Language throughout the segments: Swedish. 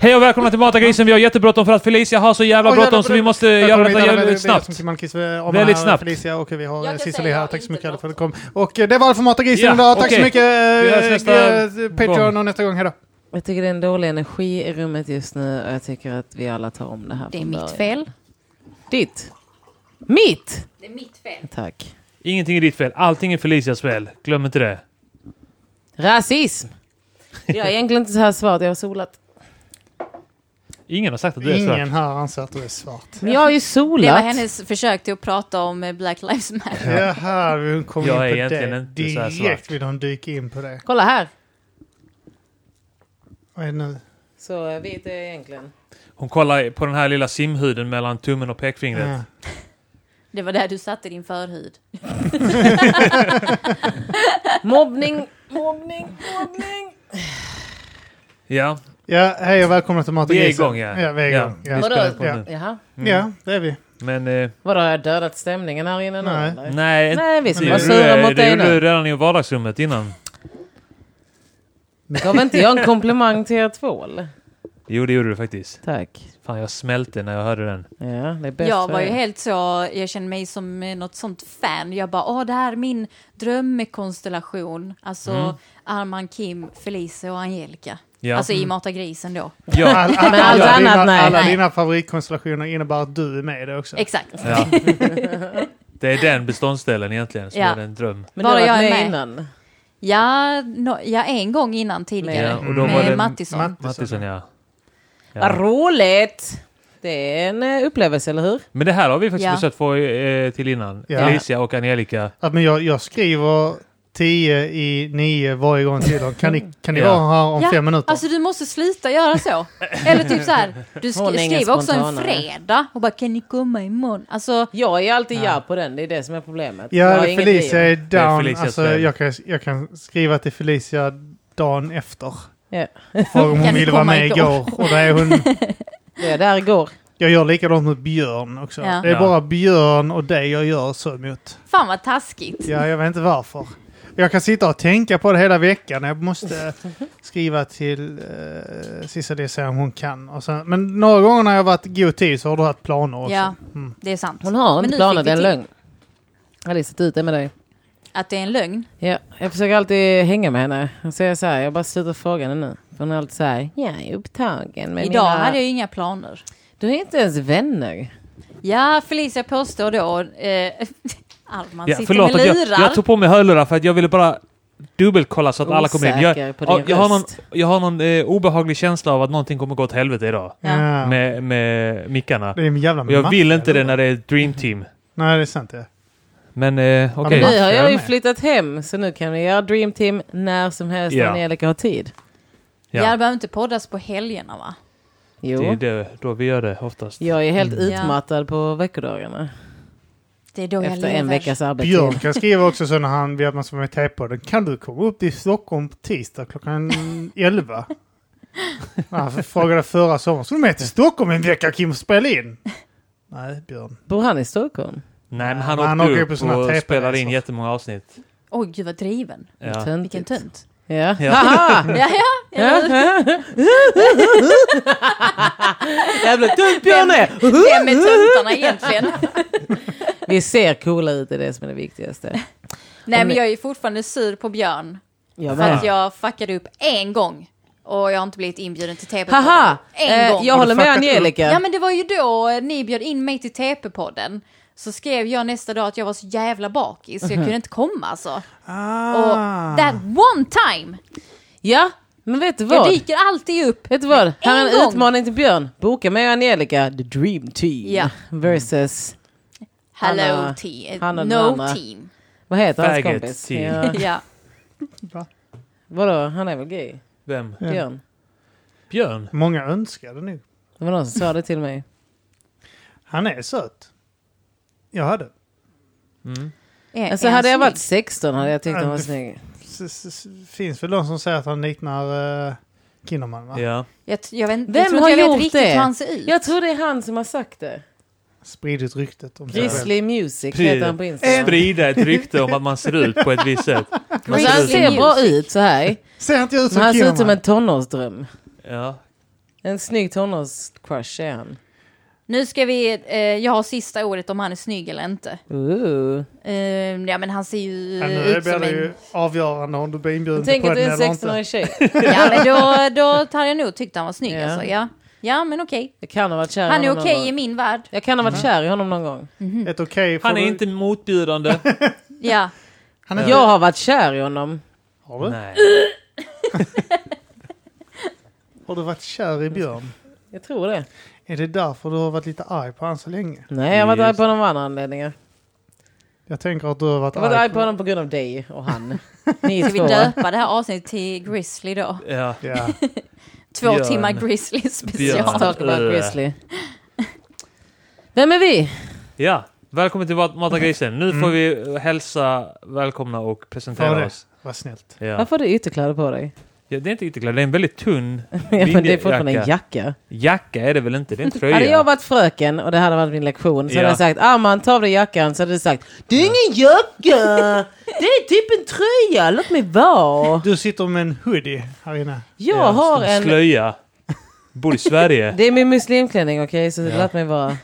Hej och välkomna till Matagrisen. Vi har jättebråttom för att Felicia har så jävla Oj, bråttom jävlar, så vi måste göra Välkommen detta vidare. jävligt Det är jag snabbt. som Tim Almqvist, vi avhandlar Väldigt snabbt. Felicia och vi har Jag eh, kan Cicely säga här. jag Tack så inte mycket alla för att något. du kom. Och eh, det var allt för Matargrisen Ja, idag. Tack okej. så mycket Vi hörs eh, nästa eh, Patreon och nästa gång. Hejdå. Jag tycker det är en dålig energi i rummet just nu och jag tycker att vi alla tar om det här. Det är från mitt början. fel. Ditt? Mitt? Det är mitt fel. Tack. Ingenting är ditt fel. Allting är Felicias fel. Glöm inte det. Rasism! Jag är egentligen inte så här svart, jag har solat. Ingen har sagt att du är svart. Ingen här anser att du är svart. Men jag har ju Det var solat. hennes försök till att prata om eh, Black Lives Matter. Det här vi kom Jag är in på egentligen det. inte så här Direkt svart. vill de dyka in på det. Kolla här. Vad är det nu? Så eh, vit är jag egentligen. Hon kollar på den här lilla simhuden mellan tummen och pekfingret. Ja. Det var där du satte din förhud. Mobbning, mobbning, mobbning. Ja, Ja, hej och välkomna till Mat och Vi är Grisen. igång, ja. Ja, vi är Ja, igång. vi Ja, spelar ja. på ja. nu. Jaha. ja det är vi. men... Eh, Vadå, har jag dödat stämningen här inne nu? Nej. eller? nej, Nej, vi det som var gjorde sura du- mot det dig gjorde du nu. redan i vardagsrummet innan. Gav inte jag en komplimang till er två? eller? Jo, det gjorde du faktiskt. Tack. Fan, jag smälte när jag hörde den. Ja, det är bäst Jag för var ju er. helt så, jag kände mig som eh, något sånt fan. Jag bara, åh det här är min drömkonstellation. Alltså Arman, Kim, Felice och Angelica. Mm. Ja. Mm. Alltså i Mata grisen då. Ja, All, all, Men allt alla, annat, dina, nej. alla Nej. dina favoritkonstellationer innebär att du är med i det också. Exakt. ja. Det är den beståndsdelen egentligen som Ja. är en dröm. Men Bara du har jag varit är med med. innan. Ja, no, ja, en gång innan tidigare. Ja, och då med var det Mattisson. Matt- Mattisson, ja. Vad ja. roligt! Det är en eh, upplevelse, eller hur? Men det här har vi faktiskt Ja. försökt få eh, till innan. Ja. Felicia och Angelica. Att, men jag, jag skriver 10 i 9 varje gång till dem. Kan ni, kan ni Ja. vara här om Ja, fem minuter? Alltså du måste sluta göra så. Eller typ så här, du sk Hon är ingen skriver också en spontanare. fredag och bara kan ni komma imorgon? Alltså, Jag är alltid ja. på den, det är det som är problemet. Jag ja, har inget Felicia liv. är down. Felicias alltså, fel. jag, kan, jag kan skriva till Felicia dagen efter. Ja. Fråga om Kan hon ni ville vara komma med igår? igår. Och där är hon, Det är där igår. jag gör likadant med Björn också. Ja. Det är Ja. bara Björn och dig jag gör så mot. fan vad taskigt. Ja, jag vet inte varför. Jag kan sitta och tänka på det hela veckan. Jag måste skriva till eh, Cicely och säga om hon kan. Och sen, men några gånger när jag har varit i god tid så har du haft planer också. Ja, Mm. det är sant. Hon har Men nu inte planer, fick det är en vi till lögn. Jag har listat ut det med dig. Att det är en lögn. Ja, jag försöker alltid hänga med henne. Jag säger så här, jag bara slutar fråga henne nu. För hon är alltid så här, ja, jag är upptagen med Idag mina... hade jag ju inga planer. Du är inte ens vänner. Ja, Felicia påstår då, eh, Alman Ja, sitter förlåt med att jag, lurar. jag tog på mig hörlurar för att jag ville bara dubbelkolla så att alla kommer in. Jag, Osäker på ja, din jag har någon, röst. jag har någon eh, obehaglig känsla av att någonting kommer gå åt helvete idag. Ja. Ja. Med, med mickarna. Det är en jävla Och jag maffa, vill inte eller? det när det är ett dream team. Nej, det är sant det. Men eh, okej. men Nu har jag jag ju med. flyttat hem, så nu kan vi göra Dream Team när som helst Ja. när Angelica har tid. Ja. Ja, det behöver inte poddas på helgerna va? Jo, det är det, då vi gör det oftast. jag är helt Mm. Ja. utmattad på veckodagarna. Det är då jag Efter lever. en veckas arbetstid. Björn kan skriva också så när han vet att man ska vara med i tejppodden. Kan du komma upp till Stockholm på tisdag klockan 11? Han frågade förra sommaren. Ska du med till Stockholm en vecka Kim och spela in? Nej, Björn. Bor han i Stockholm? Nej, men Men han han åkte åker upp på såna och tejper, spelade in alltså. jättemånga avsnitt. Oj, gud vad driven. Ja. Töntigt. Vilken tunt. Ja. Ja. Haha! Ja, ja. Ja. eller hur? Jävla tunt Björn är! Vem är töntarna egentligen? Vi ser coola ut, det är det som är det viktigaste. Nej, ni- men jag är ju fortfarande sur på Björn. Jag För att med. jag fuckade upp en gång. Och jag har inte blivit inbjuden till TP-podden. Haha! En Eh, gång. jag håller med fuckat Angelica. Ja men det var ju då eh, ni bjöd in mig till TP-podden. Så skrev jag nästa dag att jag var så jävla bakis Mhm. så jag kunde inte komma alltså. Och Ah. Ah. that one time! Ja, men vet du Jag vad? dyker alltid upp. Vet du vad? Här är En en gång. utmaning till Björn. Boka mig och Angelica, the dream team. Ja. Versus, Hello Hanna- team, Hanna den no andra. team. vad heter hans Faggot kompis? team. Ja. Ja. Vadå, han är väl gay? Vem? Björn. Björn? Många önskade nu. Det var någon som sa det till mig. Han är söt. Jag hade. Mm. Är, Alltså är han hade jag Eh, snygg? varit 16 hade jag tyckt han var Ja, snygg. S -s -s finns väl de som säger att han liknar uh, Kinnaman va? Ja. Jag, t- jag, vet, inte- Vem jag tror inte jag har gjort vet riktigt det? hur han ser ut. Jag tror det är han som har sagt det. Spridit ryktet om sig själv. Grizzly Music Precis. heter han på Instagram. Sprida ett rykte om att man ser ut på ett visst sätt. Man Alltså, ser han ut som, ser bra ut så här. Ser inte jag ut Men som han ser ut som Kinnaman? en tonårsdröm. ja. En snygg tonårscrush är han. Nu ska vi, eh, jag har sista ordet om han är snygg eller inte. Ooh. Eh, ja men han ser ju Men eh, nu ut blir som det en... ju avgörande om du blir inbjuden till Tänk att du podden är en eller inte. 16-årig tjej. Ja men då, då hade jag nog tyckt han var snygg Ja. alltså. Ja, ja men okej. Jag kan ha varit kär i Han är honom okej någon i gång. min värld. Jag kan ha varit kär i honom någon gång. Ett okej får Han är du- inte motbjudande. Ja. Han är Jag har varit kär i honom. Har du? Nej. Har du varit kär i Björn? Jag tror det. Är det därför du har varit lite arg på honom så länge? Nej, jag har Just. varit arg på honom av andra anledningar. Jag tänker att du har varit Jag har varit arg på honom på grund av dig och han. Ni Ska vi två. döpa det här avsnittet till Grizzly då? Ja. Ja. Två Björn. timmar Grizzly Björn. special. Talk about Grizzly. Vem är vi? ja. Välkommen till Mat- Mata grisen. Nu får vi hälsa, välkomna och Var presentera Mm. det? oss. Vad snällt. Ja. Varför har du ytterkläder på dig? Ja, det är inte ytterkläder, det är en väldigt tunn Ja, men det är linjejacka. fortfarande en jacka. Jacka är det väl inte? Det är en tröja. Hade jag varit fröken och det hade varit min lektion så hade Ja. jag sagt Arman ta av dig jackan så hade du sagt Det är ingen jacka! Det är typ en tröja, låt mig vara! Du sitter med en hoodie här inne. Jag Ja, har en en... slöja. Bor i Sverige. Det är min muslimklänning okej så låt mig vara.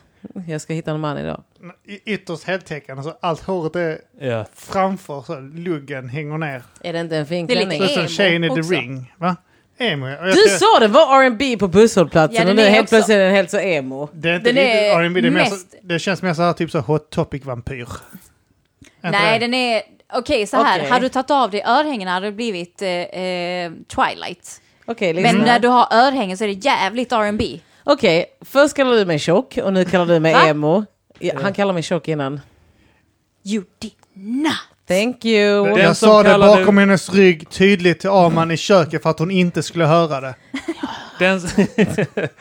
Jag ska hitta en man idag. I- Ytterst heltäckande, så allt håret är Ja. framför, så luggen hänger ner. Är det inte en fin Det är lite klänning? Det är som Emo tjejen i The också. Ring. Va? Emo, ja. Och jag Du ser- sa det var R&B på busshållplatsen Ja, den och nu är helt också- plötsligt är den helt så emo. Det är inte Den är riktigt R&B, det, är mer så- mest- det känns mer så här typ så hot topic-vampyr. Är inte Nej det? den är, okej så här. Okej. hade du tagit av dig örhängena hade det blivit eh, eh, Twilight. Okej, Men Liksom. lyssna. när du har örhängen så är det jävligt R&B. Okej, först kallar du mig tjock och nu kallar du mig Va? emo. Ja, han kallade mig tjock innan. You did not. Thank you. Den jag som sa det kallade- bakom hennes rygg tydligt till Arman i köket för att hon inte skulle höra det. Den... s-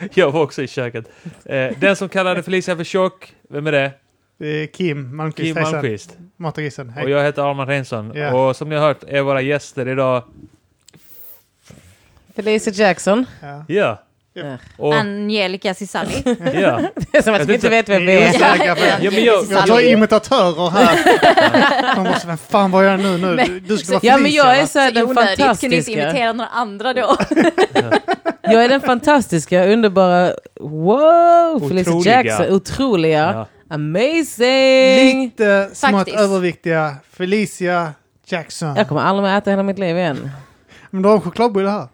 jag var också i köket. Eh, den som kallade Felicia för tjock, vem är det? Det är Kim Malmqvist. Kim hejsan. Malmqvist. Matagrisen, hej. Och jag heter Armand Reinsson. Ja. Och som ni har hört är våra gäster idag... Felicia Jackson. Ja. Ja. Ja. Och, Angelica Cisari. ja. Det är som att Jag vi tyckte- inte vet vem vi Ni är är. osäkra på det. ja men jag, Jag tar imitatörer här. De bara, så, vem fan var jag nu? nu? Du- Du skulle vara Ja men Felicia, jag är va? så här, den Onödigt, kunde inte fantastiska. imitera några andra då. Jag är den fantastiska, underbara, wow, Felicia Otroliga. Jackson, otroliga, Ja. amazing. Lite smått Faktiskt. överviktiga Felicia Jackson. Jag kommer aldrig mer äta hela mitt liv igen. Men du har en chokladbulle här.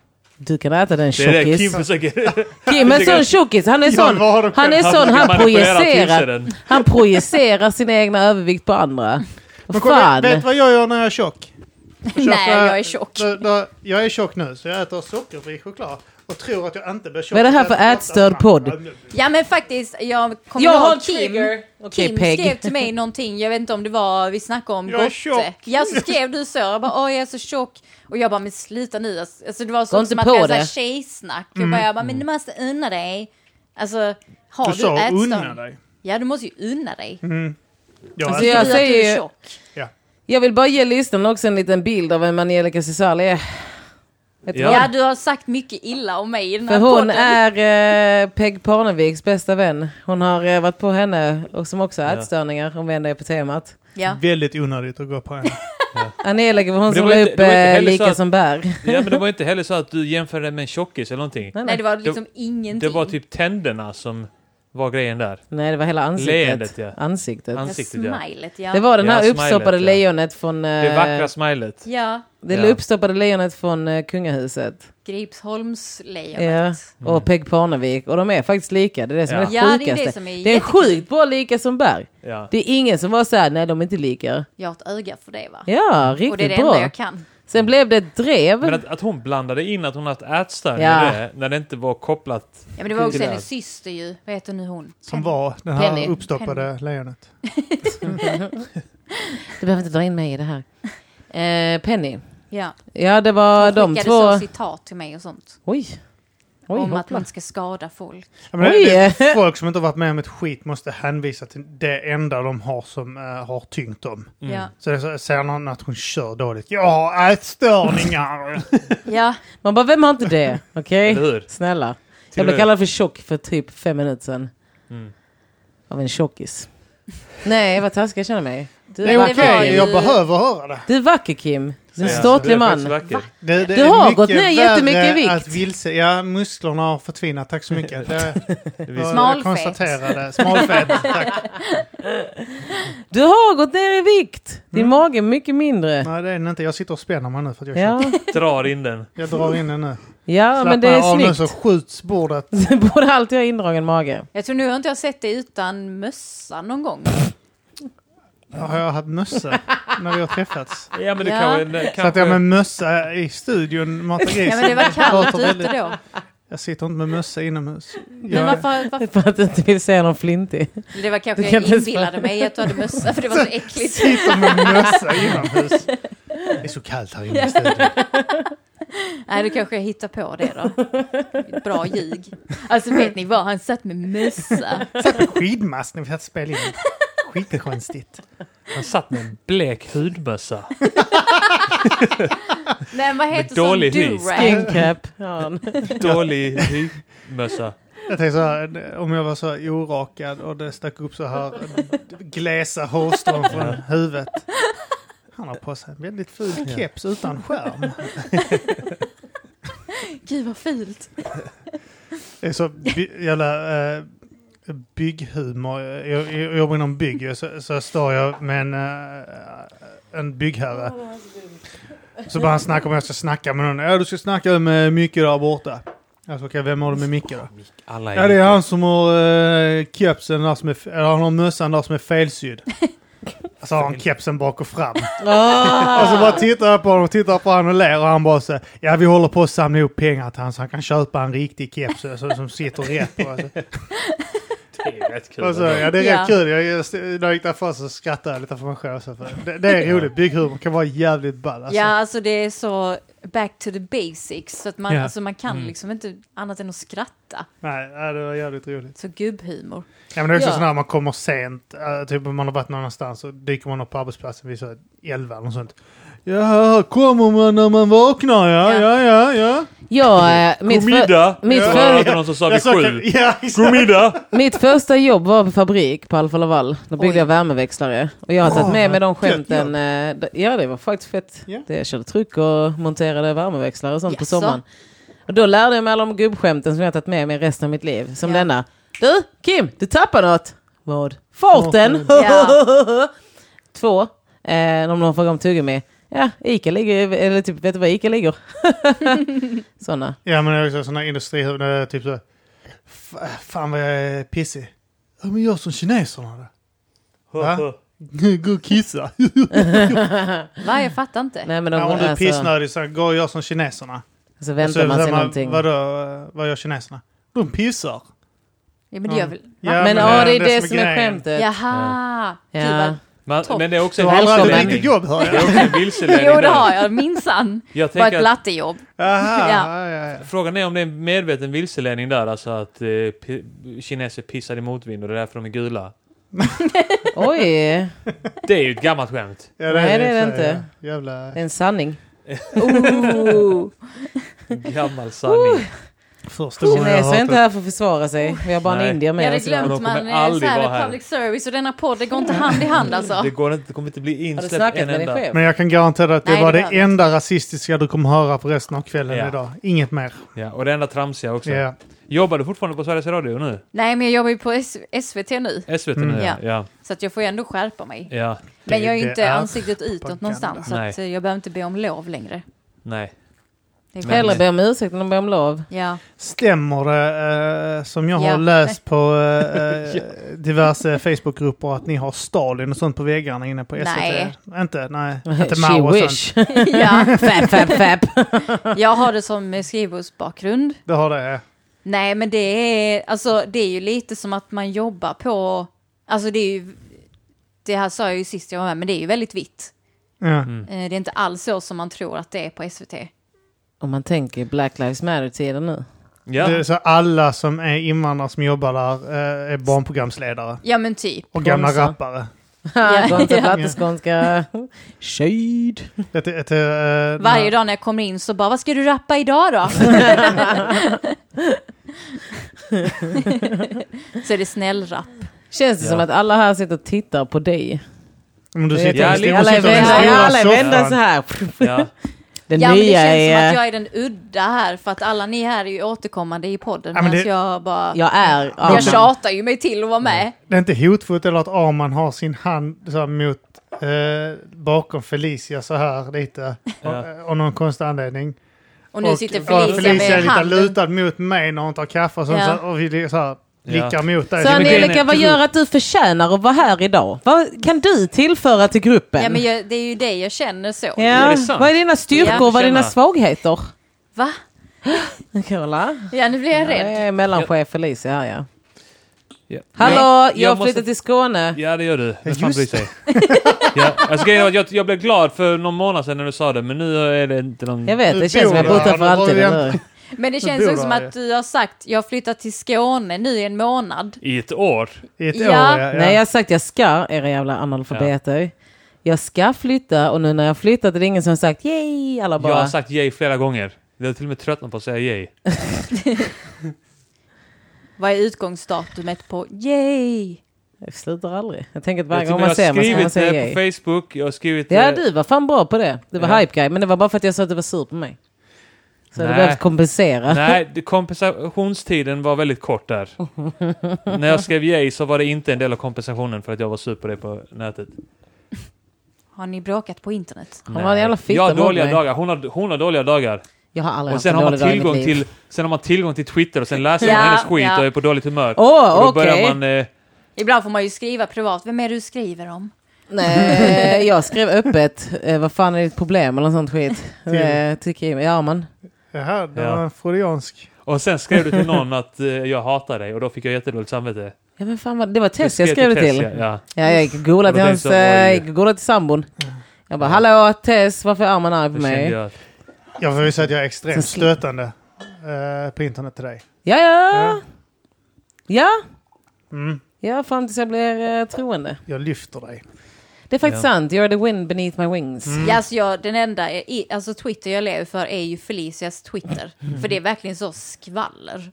Du kan äta den Det är det Kim tjockis. försöker... Kim är en sån tjockis, han är Ja, sån, vad har du han är själv? sån, Han han försöker manipulera till sig projicerar, den. han projicerar sin egna övervikt på andra. Men Vad kolla, vet du fan? vad jag gör när jag är tjock? Jag köper- Nej, jag är tjock. Då, då, jag är tjock nu, så jag äter sockerfri choklad och tror att jag inte blir tjock. Vad är det här för Jag äter ätstörd choklad. podd? Ja men faktiskt, jag kommer Jag har ihåg en Kim. trigger. Okej, Kim Peg. skrev till mig någonting, jag vet inte om det var, vi snackade om Jag är Gotte. tjock. Ja så skrev du så, jag bara åh jag är så tjock. Och jag bara men sluta nu, alltså det var Gå så, inte som att på det var så här det. Mm. tjejsnack. Jag bara, jag bara men du måste unna dig. Alltså har Du du, sa ätstörning? unna dig. Ja du måste ju unna dig. Jag Alltså, äter- jag- Du, att du Mm. säger är ju- tjock. Jag vill bara ge lyssnarna också en liten bild av vem Angelica Cesali är. Vet du Ja. vad? Ja du har sagt mycket illa om mig i den För här hon podden. är eh, Peg Parneviks bästa vän. Hon har eh, varit på henne och som också har ätstörningar om vi ändå är på temat. Ja. Väldigt onödigt att gå på henne. Angelica var hon det som var la inte- upp det var inte eh, heller så lika att- som bär. Ja men det var inte heller så att du jämförde den med en tjockis eller någonting. Nej det var Det- liksom ingenting. Det var typ tänderna som var grejen där. Nej det var hela ansiktet. Leendet, ja. ansiktet. Ans- Ja, ansiktet, ja. Smilet ja. Det var den Ja, här smilet, uppstoppade ja. lejonet från... eh, Det vackra smilet. Ja, det Ja. uppstoppade lejonet från eh, kungahuset. Gripsholmslejonet. Ja. Och Peg Parnevik. Och de är faktiskt lika. Det är det som Mm. Ja. är det Ja, det är det sjukaste. som är det är jättekul. sjukt bra lika som bär. Ja. Det är ingen som var såhär, nej de är inte lika. Jag har ett öga för det va? Ja, och det är det riktigt enda bra. jag kan. Sen blev det ett drev. Men att, att hon blandade in att hon haft ätstörning Ja. med det, när det inte var kopplat. Ja men det var också Tyvärr. hennes syster ju, vad heter nu hon? Som Penny. var den här Penny. uppstoppade lejonet. Du behöver inte dra in mig i det här. Eh, Penny. Ja. Ja, det var Hon de skickade två. så citat till mig och sånt. Oj. Oj, om att hoppla. man ska skada folk. Ja, men Oj. det, det är folk som inte har varit med om ett skit måste hänvisa till det enda de har som eh, har tyngt dem. Ja. Så det är så, säger någon att hon kör dåligt. Jag har ätstörningar! ja, Man bara, vem har inte det? Okej, Eller hur? snälla. Jag blev hur? kallad för tjock för typ fem minuter sedan. Mm. Av en tjockis. Nej, vad taskig jag känner mig. Du det är är vacker. okej, ju- jag behöver höra det. Du är vacker Kim. En säger jag. ståtlig Du är man. faktiskt vacker. Det, det Du är har mycket gått ner värre jättemycket i vikt. Att vilse, ja, musklerna har förtvinat. Tack så mycket. Det, det, jag Smalfet. konstaterade. Smalfet. Tack. Du har gått ner i vikt! Din Mm. mage är mycket mindre. Nej, det är den inte. Jag sitter och spänner mig nu för att jag, Ja, Drar in den. jag drar in den nu. ja men det Slappnar av är nu så snyggt. skjuts bordet. Borde alltid ha indragen mage. Jag tror nu har inte jag sett det utan mössa någon gång. Har jag haft mössa när vi har träffats? Ja, men det Ja. kanske... ne- Så att kanske jag med mössa i studion matar Ja, grisen. men det var kallt Pratar väldigt- ute då. Jag sitter inte med mössa inomhus. Men Jag, varför, varför? För att du inte vill se någon flintig. Det var kanske Du kan jag inte inbillade svara. mig att du hade mössa för det var så äckligt. sitter med mössa inomhus. Det är så kallt här inne i studion. Nej, då kanske jag hittar på det då. Bra ljug. Alltså vet ni vad, han satt med mössa. Satt på skidmask när vi satt och spelade in. Skitkonstigt. han satt med en blek hudmössa. Nej, vad heter sån dålig hys. durag? Skincap. Ja. Dålig hudmössa. Jag tänkte så här, om jag var så här orakad och det stack upp så här gläsa hårstrån från huvudet. Han har på sig en väldigt ful keps utan skärm. Gud vad fult. Det är så by- jävla eh, bygghumor. Jag, jag, jag jobbar inom bygg så, så står jag med en, eh, en byggherre. Så bara han snackar om att jag ska snacka med någon. Ja, du ska snacka med Micke där borta. Jag sa, okej, vem har du med Micke då? Alla Ja, det är han som har eh, kepsen där som är, f- eller han har mössan där som är felsydd. Så har han kepsen bak och fram. Ah! Och så bara tittar jag på honom, tittar på honom och ler och han bara så här, Ja vi håller på att samla ihop pengar till honom så han kan köpa en riktig keps eh, så, som sitter rätt på. Alltså. Det är rätt kul. Och så, ja det är Ja. rätt kul. Jag, jag, när jag gick därifrån så skrattade jag lite för mig själv. Så för, det, det är roligt, bygghumor kan vara jävligt ball. Alltså. Ja, alltså det är så back to the basics. Så att man, Ja. alltså, man kan Mm. liksom inte annat än att skratta. Nej, ja, det var jävligt roligt. Så gubbhumor. Ja, men det är också Ja. sådär när man kommer sent, eh, typ om man har varit någon annanstans så dyker man upp på arbetsplatsen vid så 11 eller något sånt. Ja, här kommer man när man vaknar, ja, Ja. ja, ja, ja. Ja, eh, mitt, God för, middag! mitt Jag för- hörde någon som sa vid Jag sa- sju. Ja, God exakt. middag! mitt första jobb var på fabrik på Alfa Laval. Då byggde Oj. jag värmeväxlare. Och jag har Åh, tagit med mig de vad fett skämten. eh, d- Ja, det var faktiskt fett. Ja. Det, jag körde truck och monterade värmeväxlare och sånt på Jaså? sommaren. Och då lärde jag mig alla de gubbskämten som jag har tagit med mig resten av mitt liv. Som Ja. denna. Du, Kim, du tappar något. Vad? Farten! Två, eh, om någon frågar om tuggummi. Ja, Ica ligger, eller typ, vet du var Ica ligger? Sådana. ja, men det är också sådana industrihuvuden, typ så. "F- Fan vad jag är pissig. Ja, men gör som kineserna då. Va? Gå och kissa. Va, jag fattar inte. Nej, men de, Ja, om du Alltså, är alltså, pissnödig så gå och gör som kineserna. så väntar man säger sig någonting. Vadå, eh, vad gör kineserna? De pissar. Ja, men det gör Mm. väl... Ja, Men ja, det är det som är grejen. skämtet. Jaha! Ja. Gud, vad- Man, Topp. men det är också Du en har aldrig haft ett vilseledning. riktigt jobb hör Det är jag. också en vilseledning. Jo, det där. har jag minsann. Jag Bara ett tänker att, blattejobb. Aha, Ja. ja. Ja, ja. frågan är om det är en medveten vilseledning där, alltså att eh, pi- kineser pissar i motvind och det är därför de är gula. Oj, det Det är ju ett gammalt skämt. Ja, Nej, det är det så, inte. ja. Jävla... är en sanning. Oh. En Gammal sanning. Första gången jag Kineser är har inte hört här för att försvara sig. Vi har bara Nej. en indier Jag med hade oss idag. de glömt kommer man eh, så aldrig här vara här. med public service och denna podd, det går inte hand i hand alltså. Det, går inte, det kommer inte bli Har du insläppt snackat en med din enda. chef? det. Men jag kan garantera att det Nej, var det det var det. enda rasistiska du kommer höra på resten av kvällen Ja. idag. Inget mer. Ja, och det enda tramsiga också. Ja. Jobbar du fortfarande på Sveriges Radio nu? Nej, men jag jobbar ju på S- SVT nu, SVT Mm. nu? Ja. ja. så att jag får ju ändå skärpa mig. ja. Men jag är ju det inte är ansiktet utåt propaganda. någonstans, så att Nej. eh, jag behöver inte be om lov längre. Nej. Det är Men- Hellre skönt. be om ursäkt än att be om lov. Ja, Stämmer det eh, som jag Ja. har läst på eh, eh, diverse Facebookgrupper att ni har Stalin och sånt på väggarna inne på SVT? Nej. Inte? Nej. Inte Mao She och sånt? wish. ja. Fap, fap, fap. jag har det som eh, skrivbordsbakgrund. Det har det. ja. Nej, men det är, alltså, det är ju lite som att man jobbar på... Alltså det är ju... Det här sa jag ju sist jag var med, men det är ju väldigt vitt. Ja. Mm. Eh, Det är inte alls så som man tror att det är på SVT. Om man tänker Black Lives Matter-tiden nu. Ja. Det är så alla som är invandrare som jobbar där eh, är barnprogramsledare Ja, men typ. och gamla Konsa. rappare. Ja, Gå inte ja. platteskånska. Shade. Det, det, det, eh, Varje när- dag när jag kommer in så bara, vad ska du rappa idag då? så är det snällrapp. Känns det Ja. som att alla här sitter och tittar på dig? Om du Det sitter är- i Ja, den stora alla är sitter i den vända, stora alla alltså. är vända soffan. så här. Ja. Den ja, men det känns nya som är... att Jag, jag är den udda här för att alla ni här är ju återkommande i podden Ja, men medan det- jag bara... är... Ja, Jag tjatar ju mig till att vara med. Det är inte hotfullt eller att Arman har sin hand så här, mot, eh, bakom Felicia så här lite. Eh, Ja. Av någon konstig anledning. Och nu Och- sitter och Felicia, Felicia är med lite handen. lutad mot mig när hon tar kaffe och, sånt, Ja. så, här, och vi så här, blickar Ja. mot dig. Så men grejen är- Angelica, vad gör att du förtjänar att vara här idag? Vad kan du tillföra till gruppen? Ja, men jag, det är ju det jag känner så. Ja, Är det sant? Vad är dina styrkor Ja. och vad är dina Tjena. svagheter? Va? Kolla. Ja, nu blir jag Det rädd. är mellanchef Felicia här ja. Ja. Hallå, jag jag har flyttat måste- till Skåne. Ja, det gör du. Vem fan Just bryr sig? ja. alltså, grejen var att jag, jag blev glad för någon månad sedan när du sa det, men nu är det inte någon... Jag vet, Du det känns som jag bor bott där, här för då alltid. bor jag- eller hur? Men det Du känns bor också som där ju. att du har sagt jag flyttar till Skåne nu i en månad. I ett år. I ett Ja. år, ja. ja. Nej, jag har sagt jag ska, era jävla analfabeter. Jag ska flytta och nu när jag flyttat är det ingen som har sagt yay. Alla Jag har bara... sagt yay flera gånger. Jag har till och med tröttnat på att säga yay. Vad är utgångsdatumet på? Yay! Jag slutar aldrig. Jag tänker Jag, att varje till och gång med man ser har mig ska man skrivit säga det yay. på Facebook, jag har skrivit... Ja, eh, du var fan bra på det. Du var Ja. hype guy, men det var bara för att jag sa att du var sur på mig. Så du Nej. behövt kompensera. Nej, det- kompensationstiden var väldigt kort där. När jag skrev yay så var det inte en del av kompensationen för att jag var sur på det på nätet. Har ni bråkat på internet? Han var en jävla fitta jag har mot dåliga mig. dagar, hon har, hon har dåliga dagar. Jag har aldrig Och sen haft en har, man dålig dag i mitt tillgång liv. till, sen har man tillgång till Twitter och sen läser man Ja, hennes skit ja. och är på dåligt humör. Åh, och då okej. börjar man... Eh, Ibland får man ju skriva privat. Vem är det du skriver om? Nej, jag skrev öppet. Eh, vad fan är ditt problem? Eller något sånt skit. Till- Eh, Tycker jag. Ja, man. Jaha, det Ja. var en freudiansk. och sen skrev du till någon att eh, jag hatar dig och då fick jag jättedåligt samvete. Ja, men fan vad... Det var Du Tess jag skrev det till. Tess, Ja. Ja, jag gick och googlade Och då till, hans, tänkte jag, eh, oj. gick och googlade till sambon. Jag bara, hallå Tess, varför är armen Ja, arg på då kände mig? jag att Jag får ju säga att jag är extremt Så slip- stötande eh, på internet till dig. Ja, ja. Ja. Ja, Mm. ja fram tills jag blir eh, troende. Jag lyfter dig. Det är faktiskt Ja. sant. You're the wind beneath my wings. Ja, alltså jag, den enda är, i- alltså Twitter jag lever för är ju Felicias Twitter. För det är verkligen så skvaller.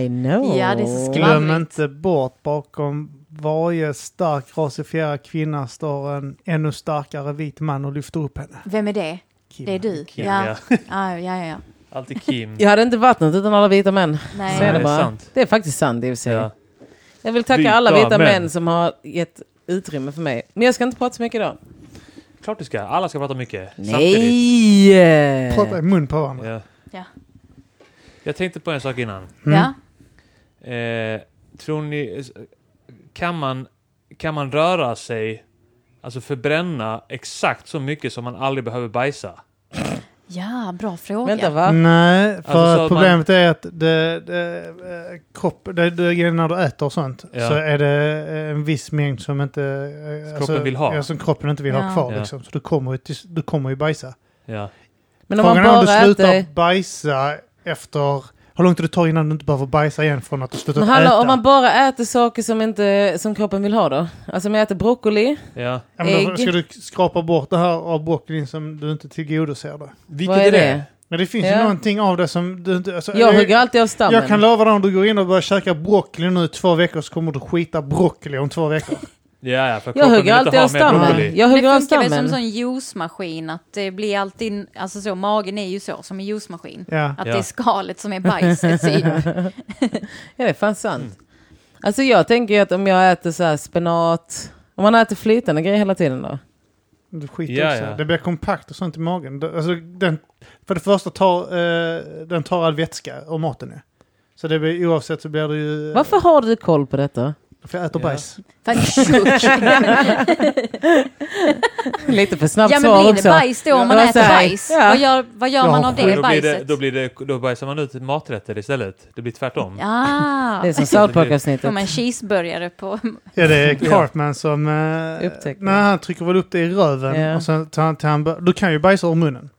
I know. Ja, det är så skvaller. Glöm Vanligt. inte bort bakom varje stark rasifierad kvinna står en ännu starkare vit man och lyfter upp henne. Vem är det? Kim. Det är du? Kim, ja. ja. Ja, ja, ja, ja. Alltid Kim. Jag hade inte vattnat utan alla vita män. Nej. Så Nej, är det det är bara. sant. Det är faktiskt sant i och för sig. Ja. Jag vill tacka Vita alla vita män. män. som har gett utrymme för mig. Men jag ska inte prata så mycket idag. Klart du ska. Alla ska prata mycket. Samtidigt. Nej! Eh, Prata i mun på varandra. Ja. Ja. Jag tänkte på en sak innan. ja. Mm. Eh, tror ni... Kan man, kan man röra sig, alltså förbränna exakt så mycket som man aldrig behöver bajsa? ja bra fråga. Vänta va? Mm. Nej, Alltså, för så att att problemet är att det, det, eh, kropp, det, det, när du äter och sånt Ja. så är det eh, en viss mängd som inte... eh, Som kroppen vill ha. Ja, som kroppen inte vill Ja. ha kvar. Ja. Liksom. Så du kommer, ju till, du kommer ju bajsa. Ja. Men om man Frågan är om du bara slutar äter... bajsa efter... Hur långt det tar innan du inte behöver bajsa igen från att du slutat Men hallå, äta. om man bara äter saker som, inte, som kroppen vill ha då? Alltså om jag äter broccoli, ja. ja, men då ägg- ska du skrapa bort det här av broccolin som du inte tillgodoser då. Vilket vad är det? Men det finns Ja. ju någonting av det som du inte... Alltså, Jag eh, hugger alltid av stammen. Jag kan lova dig om du går in och börjar käka broccoli nu i två veckor så kommer du skita broccoli om två veckor. Ja, ja, för jag kroppen vill hugger inte alltid av ha mer stammen. broccoli. Jag Det hugger av funkar väl som en stammen. sån juicemaskin att det blir alltid, alltså så, magen är ju så som en juicemaskin. Ja. Att Ja. det är skalet som är bajset. i. Ja, det är fan sant. Mm. Alltså jag tänker ju att om jag äter så här spenat, om man äter flytande grejer hela tiden då? Du skiter Ja, också. ja. Det blir kompakt och sånt i magen. Det- Alltså, den, för det första tar eh, den tar all vätska och maten nu. Så det blir, oavsett så blir det ju... Varför har du koll på detta? För jag äter Ja. bajs. Fan, tjock. Lite för snabbt Ja men svar blir det också. bajs då om man Ja, äter så här. bajs? Ja. Vad gör, vad gör Ja, man av Men det Då, blir det, bajset? då, blir det, då bajsar man ut maträtter istället. Det blir tvärtom. Ah, Det är som South får Park-avsnittet. man cheeseburgare på... Ja, det är Cartman som... Eh, Upptäcker. nej, han trycker väl upp det i röven. Ja. Och sen tar han, tar han, bör- du kan ju bajsa ur munnen.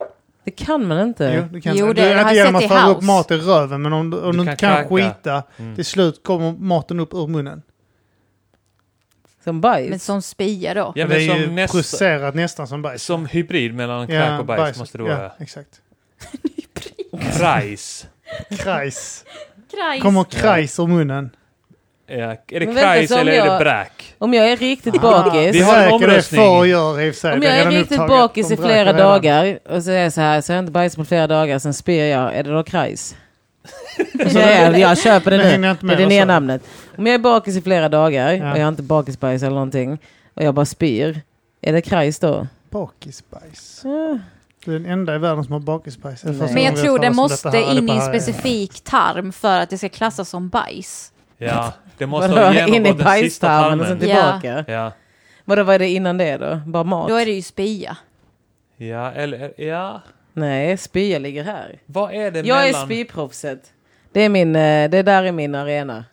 Det kan man Jo, inte. du kan, Jo, du, det- det har inte jag genom sett att i föra upp House. mat i röven, men om, du- om Du du inte kan kan knacka. skita, Mm. till slut kommer maten upp ur munnen. Som Men bajs. som spia då? Ja, det men är ju som, nästa, processerat nästan som bajs. som hybrid mellan kräk och bajs, måste det vara. Ja, exakt. Krajs. Krajs. Krajs. Kommer krajs ur munnen. Är, är det Men vänta, Kreis så om eller är jag- det Bräk? Om jag är Ah. riktigt Vi bakis. har en omröstning. Det är få gör i och för sig. Om Det jag är redan riktigt upptaget. bakis De i drack flera redan. dagar och så är jag så här, så har jag inte bajsat på flera dagar, sen spyr jag, är det då krajs? Så jag, jag köper det Det nu, hänger jag inte det med, är det vad nya sa du? namnet. Om jag är bakis i flera dagar Ja. och jag har inte bakisbajs eller någonting och jag bara spyr, är det krajs då? Bakisbajs. Du är den enda i världen som har bakisbajs. Det är Nej. första Men jag gången tror vi det har talat om måste detta här. in i Det en bara är- specifik tarm för att det ska klassas som bajs. Ja, det måste Vadå, ha in i genomgått den sista bajstarmen och sen tarmen. till- tillbaka? Ja. Vadå, vad är det innan det då? Bara mat? Då är det ju spya. ja, eller ja. Nej, spya ligger här. Vad är det Jag är mellan... spyproffset. Det, är min, eh, det där är min arena.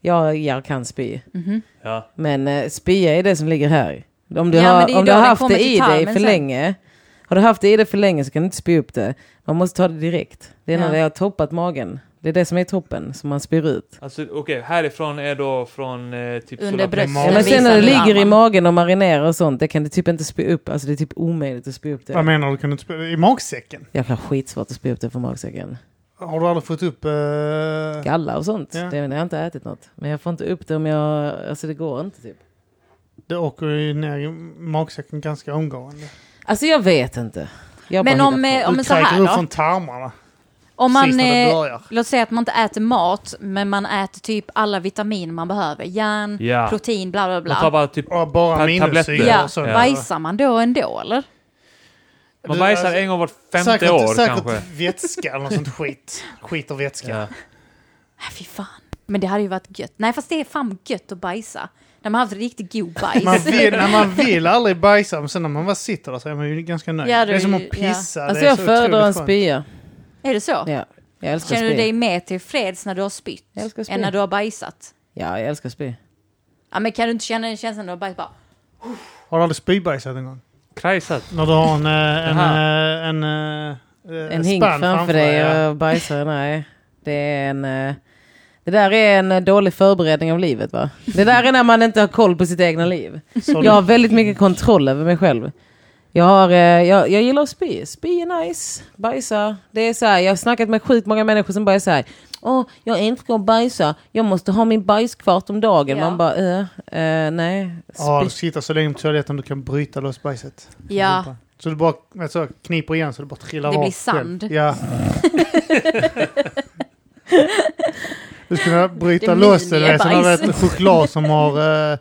Jag, jag kan spy. Mhm. Ja. Men eh, spya är det som ligger här. Om du Ja, men det har, är ju om du då har det haft kommer det till i dig tarmen för sen. länge. Har du haft det i dig för länge så kan du inte spy upp det. Man måste ta det direkt. Det är när Ja. det har toppat magen. Det är det som är toppen som man spyr ut. Alltså okej, härifrån är då från eh, typ... Under Solna- bröstet. Ja, Ja, men den sen när visar det du ligger i armen. magen och marinerar och sånt, det kan du typ inte spy upp. Alltså det är typ omöjligt att spy upp Vad det. menar du? Kan du inte spela? I magsäcken? Jag har skitsvårt att spy upp det från magsäcken. Har du aldrig fått upp... eh, Galla och sånt. Ja. Det jag har jag inte ätit något. Men jag får inte upp det om jag... Alltså det går inte typ. Det åker ju ner i magsäcken ganska omgående. Alltså jag vet inte. Jag Men bara om, hittar på. eh, om du så här upp då. från tarmarna. Om precis man, när det eh, börjar. låt säga att man inte äter mat, men man äter typ alla vitaminer man behöver. Järn, Ja. protein, bla bla Man tar bla. bara typ... Och bara Ta- minussyra tabletter. Ja, och sånt. bajsar man då ändå eller? Man Du, bajsar alltså, en gång vart femte säkert, år säkert kanske. vätska eller något sånt skit. Skit och vätska. Ja. Äh, fy fan. Men det hade ju varit gött. Nej fast det är fan gött att bajsa. När man har haft riktigt god bajs. Man vill, när man vill aldrig bajsa, men sen när man bara sitter där så är man ju ganska nöjd. Ja, det, det är är som ju- att pissa. Det Alltså är jag så föredrar en otroligt skönt. spya. Är det så? Ja, jag älskar Känner du dig spy. mer till freds när du har spytt? Jag älskar spy. Än när du har bajsat? Ja, jag älskar spy. Ja men kan du inte känna den känslan när du har bajsat? Bara, Har du aldrig spybajsat en gång? Kreisat. När du har en, eh, en, Jaha. eh, en, eh, eh, En hink spann framför, dig ja. och bajsar, nej. Det är en... eh, Det där är en eh, dålig förberedning av livet va? Det där är när man inte har koll på sitt egna liv. Så- Jag har väldigt mycket kontroll över mig själv. Jag, har, eh, jag, jag gillar att spy. Spy är nice. Bajsa. Det är så här, jag har snackat med sjukt många människor som bara är så här. Åh, jag älskar att bajsa. Jag måste ha min bajskvart om dagen. Ja. Man bara, eh, eh, nej. Ja, Spy. du sitter så länge på toaletten du kan bryta loss bajset. ja. Så du bara vet så, kniper igen så det bara trillar Det av blir själv. sand. Ja. Du skulle kunna bryta Det loss det, du vet, så när minibajs. det är ett choklad som har eh,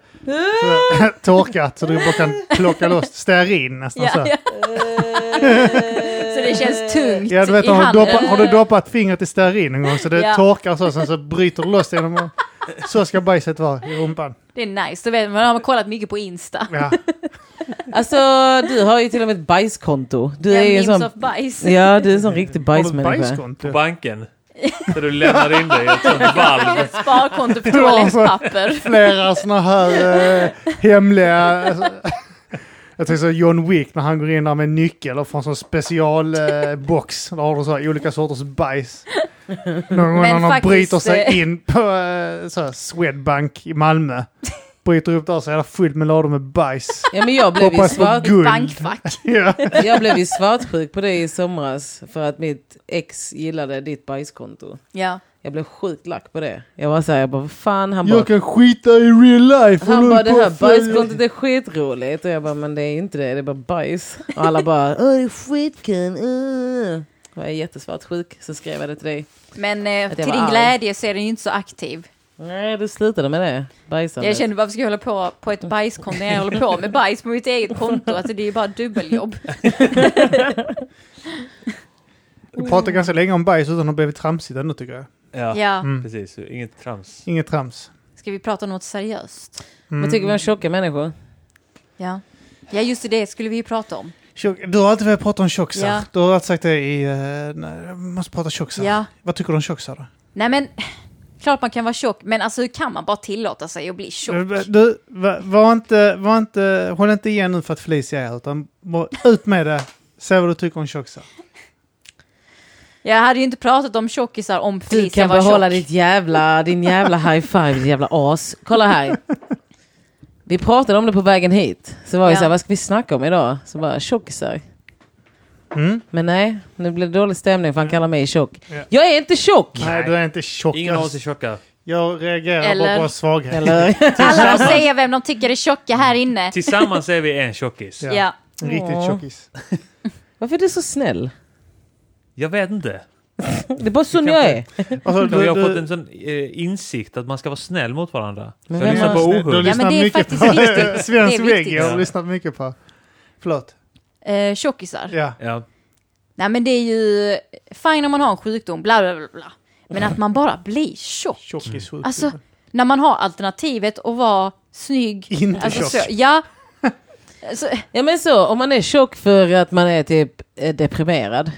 så, torkat så du bara kan plocka loss stearin nästan så. Ja, här. ja. Så det känns tungt Ja, du vet, i har, du handen. doppat, har du doppat fingret i stearin en gång så det Ja. torkar så, sen så bryter du loss det genom att- Så ska bajset vara i rumpan. Det är nice, då vet man, man har kollat mycket på Insta. Ja. Alltså, du har ju till och med ett bajskonto. Du Det är ju en är sån... memes of bajs. Ja, du är en sån riktig Har du ett bajsmänniska. bajskonto? På banken. Så du lämnar in dig i ett sånt valv. Ett sparkonto för Det var alltså så- toalettpapper. flera såna här eh, hemliga... alltså, jag tänker så John Wick när han går in där med nyckel och får en sån specialbox. Eh, box. där har du så här olika sorters bajs. Någon gång när Men han faktiskt, bryter sig eh, in på eh, så här, Swedbank i Malmö. Bryter upp där så är det fullt med lador med bajs. Ja, men jag blev ju Hoppas på svart. guld. Bankfack. Ja. Jag blev ju svartsjuk på det i somras för att mitt ex gillade ditt bajskonto. Ja. Jag blev sjukt lack på det. Jag var såhär, jag bara vad fan, han bara, Jag kan skita i real life. han Håller bara du det på här att följa- bajskontot är skitroligt. Och jag bara, men det är ju inte det, det är bara bajs. Och alla bara, åh det är skitkul, uh. Och jag är jättesvartsjuk, så skrev jag det till dig. Men eh, Att jag till var din arg. glädje så är den ju inte så aktiv. Nej, du slutade med det, bajsandet. Jag kände varför ska jag hålla på på ett bajskonto när jag håller på med bajs på mitt eget konto? Alltså det är ju bara dubbeljobb. Vi pratar ganska länge om bajs utan att ha blivit tramsigt ännu tycker jag. Ja, Ja. Mm. precis. Inget trams. Inget trams. Ska vi prata om något seriöst? Mm. Vad tycker vi om tjocka människor? Ja. Ja just det, det skulle vi ju prata om. Tjock, du har alltid velat prata om tjockisar. Ja. Du har alltid sagt det i... eh, nej, jag måste prata tjockisar. Ja. Vad tycker du om tjockisar då? Nej men, klart man kan vara tjock, men alltså hur kan man bara tillåta sig att bli tjock? Du, Eh, va- var inte, var inte, håll inte igen nu för att Felicia är här, utan bara ut med det. Säg vad du tycker om tjockisar. Jag hade ju inte pratat om tjockisar om Du Felicia kan var behålla tjock. ditt jävla, din jävla high five, ditt jävla as. Kolla här. Vi pratade om det på vägen hit. Så var vi Ja. så här, vad ska vi snacka om idag? Så bara, tjockisar. Mm? Men nej, nu blir det dålig stämning för han kallar mig tjock. Ja. Jag är inte tjock! Nej, du är inte tjock. Ingen av oss är tjocka. Jag reagerar Eller- bara på svaghet. Eller? Alla får säga vem de tycker är tjocka här inne. Tillsammans är vi en tjockis. Ja. Ja. En Riktigt Åh. tjockis. Varför är du så snäll? Jag vet inte. Det är bara sån jag är. Alltså, Jag har fått en sån eh, insikt att man ska vara snäll mot varandra. Men jag vem lyssnar har- på Du Ohugg. har Ja, men lyssnat det är mycket faktiskt på viktigt. svensk Det är viktigt. reggae. Jag har Ja. lyssnat mycket på. Förlåt. Eh, tjockisar. Ja. Ja. Nej men det är ju fine om man har en sjukdom, bla bla bla. bla. Men att man bara blir tjock. Mm. Tjockissjukdom. Alltså, när man har alternativet att vara snygg. Inte alltså, tjock. Så, ja. Alltså, Ja men så, om man är tjock för att man är typ eh, deprimerad.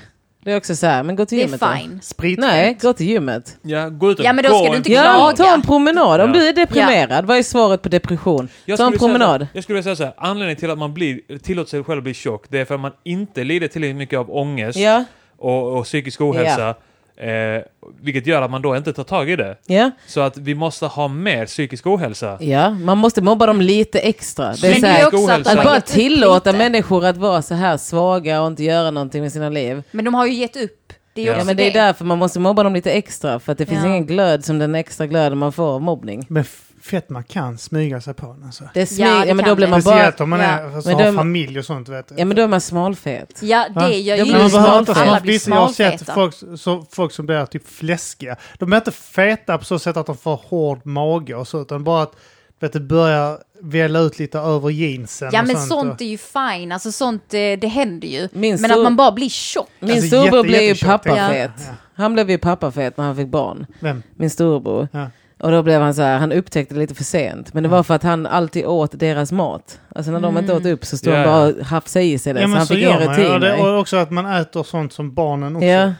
Det är också så här, men gå till Det är gymmet då. fine. Sprit. Nej, gå till gymmet. ja, gå ut och Ja, men då ska gå du en- inte Ja, Klaga. ta en promenad. Om Ja. du är deprimerad, vad är svaret på depression? Jag Ta en skulle säga så promenad. här- Jag skulle vilja säga så här, anledningen till att man blir, tillåter sig själv att bli tjock, det är för att man inte lider tillräckligt mycket av ångest Ja, och, och psykisk ohälsa. Eh, vilket gör att man då inte tar tag i det. ja, Så att vi måste ha mer psykisk ohälsa. ja. Man måste mobba dem lite extra. Det är Men så det är här, ju också att de Att att har bara gett upp tillåta lite. människor att vara så här svaga och inte göra någonting med sina liv. Men de har ju gett upp. Det är ju Ja, Ja, också men det är därför man måste mobba dem lite extra. För att det finns Ja. ingen glöd som den extra glöden man får av mobbning. Men f- fetma kan smyga sig på en. Alltså. Det är Ja, ja, det ja, men kan då blir det. man bara... Speciellt om man ja. är, alltså, Men har de- familj och sånt. Vet du. Ja, men då är man smalfet. Ja, Va? det gör Ja, Men ju men man Just behöver smalfet. inte alla smalfet. blir Jag har sett smalfeta. folk, så, folk som blir typ fläskiga. De är inte feta på så sätt att de får hård mage och så, utan bara att vet du, börjar välla ut lite över jeansen. Ja och men sånt. sånt är ju fine, alltså sånt eh, det händer ju. Min men stor- att man bara blir tjock. Min Alltså, storbror jätte- blev ju jättetjock, pappafet. ja. Ja. Han blev ju pappafet när han fick barn. Vem? Min storbror. Ja. Och då blev han så här, han upptäckte det lite för sent. Men det var för att han alltid åt deras mat. Alltså när de inte åt upp så stod Ja, han ja. bara och hafsade i sig det. Ja, så men han så fick ingen gör man. Ja, rutin. det, nej. och också att man äter sånt som barnen också Ja,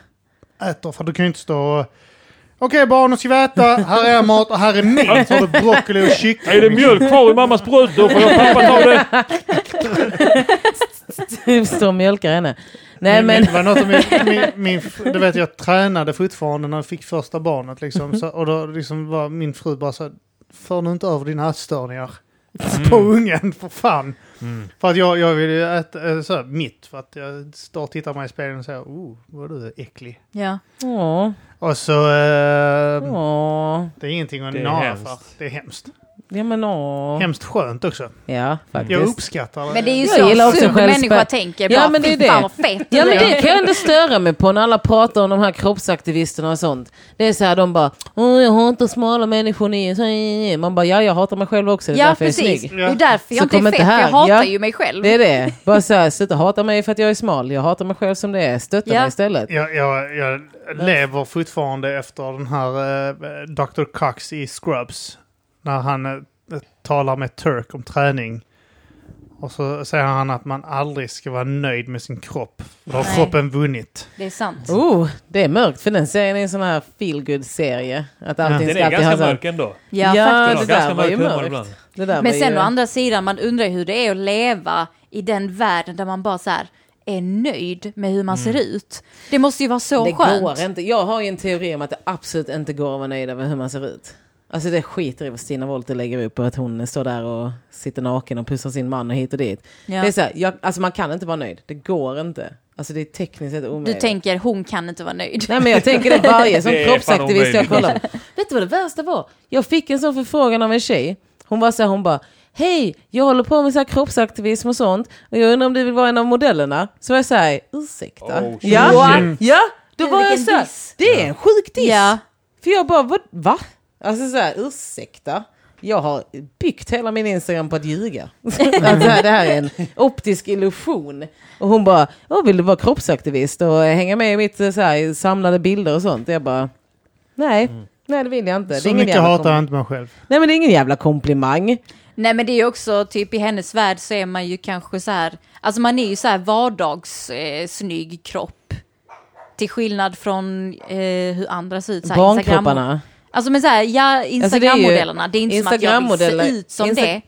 äter. För du kan ju inte stå och... Okej barn, nu ska vi äta. Här är mat och här är min. Så har du broccoli och kyckling. Är det mjölk kvar i mammas bröst då får jag pappa ta det. står och mjölkar henne. Nej Mm. Nej, men, Det var något om min, min, min, fr- du vet jag tränade fortfarande när jag fick första barnet liksom. Så, och då liksom var min fru bara så här, för nu inte över dina ätstörningar Mm. på ungen för fan. För att jag, jag ville ju äta eh, så här, mitt för att jag står och tittar mig i spegeln och säger oh, vad du är äcklig. Ja. Mm. åh, Och så, eh, åh, det är ingenting att Det är nara hemskt. för. Det är hemskt. ja men åh. Hemskt skönt också. Ja, Jag faktiskt. uppskattar det. Men det är ju Jag gillar så också sur självspä- människa tänker, Ja, bara men det är fy fan det. vad fet Ja du men är." det kan jag ändå störa mig på när alla pratar om de här kroppsaktivisterna och sånt. Det är så här de bara, åh jag hatar smala människor, ni är så... Man bara, ja jag hatar mig själv också, det är Ja därför jag är precis, snygg. det är därför Så jag inte är kom fet, inte för här. jag hatar Ja. ju mig själv. Det är det. Bara så här, sluta hata mig för att jag är smal. Jag hatar mig själv som det är. Stötta Ja. mig istället. Jag, jag, jag lever fortfarande efter den här eh, Dr. Cox i Scrubs. När han eh, talar med Turk om träning. Och så säger han att man aldrig ska vara nöjd med sin kropp. För Då har Nej. kroppen vunnit. Det är sant. Oh, det är mörkt för den serien är en sån här feelgood serie Att allting Den ska är alltid ha ganska sån... mörk ändå. Ja, Ja, faktiskt. Den det har där ganska var ju mörk humor mörkt. ibland. Det där Men var sen ju... å andra sidan, man undrar ju hur det är att leva i den världen där man bara så här är nöjd med hur man ser ut. Det måste ju vara så Mm. det skönt. går inte. Jag har ju en teori om att det absolut inte går att vara nöjd över hur man ser ut. Alltså det skiter i vad Stina Wollter lägger upp och att hon står där och sitter naken och pussar sin man och hit och dit. Ja. Det är så här, jag, alltså man kan inte vara nöjd. Det går inte. Alltså det är tekniskt sett Du omöjligt. tänker, hon kan inte vara nöjd. Nej men jag tänker det varje sån Det är fan kroppsaktivist jag omöjligt. kollar på. Vet du vad det värsta var? Jag fick en sån förfrågan av en tjej. Hon var så här, hon bara Hej, jag håller på med så här kroppsaktivism och sånt och jag undrar om du vill vara en av modellerna? Så var jag så här, ursäkta? Oh, shit. ja, ja, då Gud, var jag vilken så här, diss. det är en sjuk diss. Ja. För jag bara, vad, va? Alltså så här, ursäkta? Jag har byggt hela min Instagram på att ljuga. Att det, här, det här är en optisk illusion. Och hon bara, Åh, vill du vara kroppsaktivist och hänga med i mitt eh, så här, samlade bilder och sånt? Jag bara, nej, nej det vill jag inte. det är Mm. Så ingen mycket jävla hatar kompli- jag inte mig själv. Nej men det är ingen jävla komplimang. Nej men det är ju också typ i hennes värld så är man ju kanske så här, alltså man är ju så här vardagssnygg eh, snygg kropp. Till skillnad från eh, hur andra ser ut. Så här, Instagram- Barnkropparna. Alltså men så här, ja Alltså, det är ju- Instagrammodellerna, det är inte som att jag vill se Instagrammodeller- ut som Insta- det.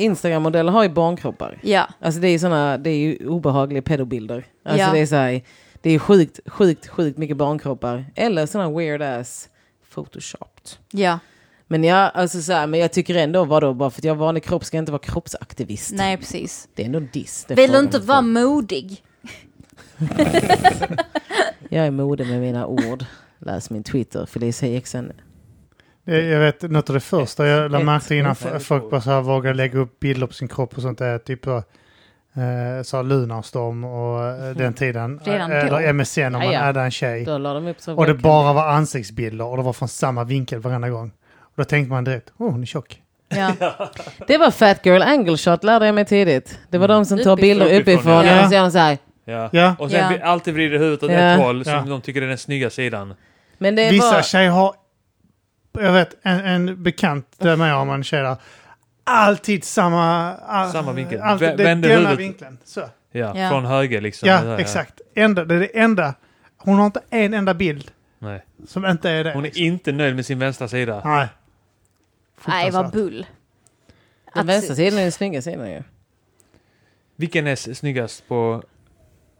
Instagrammodeller har ju barnkroppar. Ja. Alltså det är ju såna, det är ju obehagliga pedobilder. Alltså Ja. det är så här, det är sjukt, sjukt, sjukt mycket barnkroppar. Eller såna weird ass photoshopped. Ja, Men jag, alltså så här, men jag tycker ändå, vadå, bara för att jag har vanlig kropp ska jag inte vara kroppsaktivist. nej precis. Det är ändå en diss. det är Vill du frågan inte om. vara modig? Jag är modig med mina ord. Läs min Twitter, Felicia Eksen. Jag, jag vet, något av det första jag lade Ett märke till innan och fem, f- folk två. bara så här vågar lägga upp bilder på sin kropp och sånt där, typ så, eh, så här Lunarstorm och eh, den tiden. Redan Eh, då? Eller MSN om man Ja, ja. addade en tjej. Då la de upp så Och det bara var ansiktsbilder och det var från samma vinkel varenda gång. Och då tänkte man direkt, åh oh, hon är tjock. Ja. Det var Fat Girl Angle Shot lärde jag mig tidigt. Det var de som tar Uppifrån. bilder uppifrån Uppifrån, ja. och så gör de så här. Ja. Ja. Och sen Ja. vi alltid vrider huvudet åt Ja. ett håll som Ja. de tycker är den snygga sidan. Men det Vissa var... tjejer har, jag vet en, en bekant där med om en tjej där, alltid samma... all- Samma vinkel. Alltid, Vä- det är vänder denna huvudet. vinkeln. Så. Ja, Ja. från höger liksom. Ja, Det där, exakt. Enda, det är det enda. Hon har inte en enda bild Nej. som inte är det. Hon är liksom. inte nöjd med sin vänstra sida. Nej. Nej, vad Fruktansvärt. bull. Den vänstra sidan är den snygga sidan ju. Vilken är s- snyggast på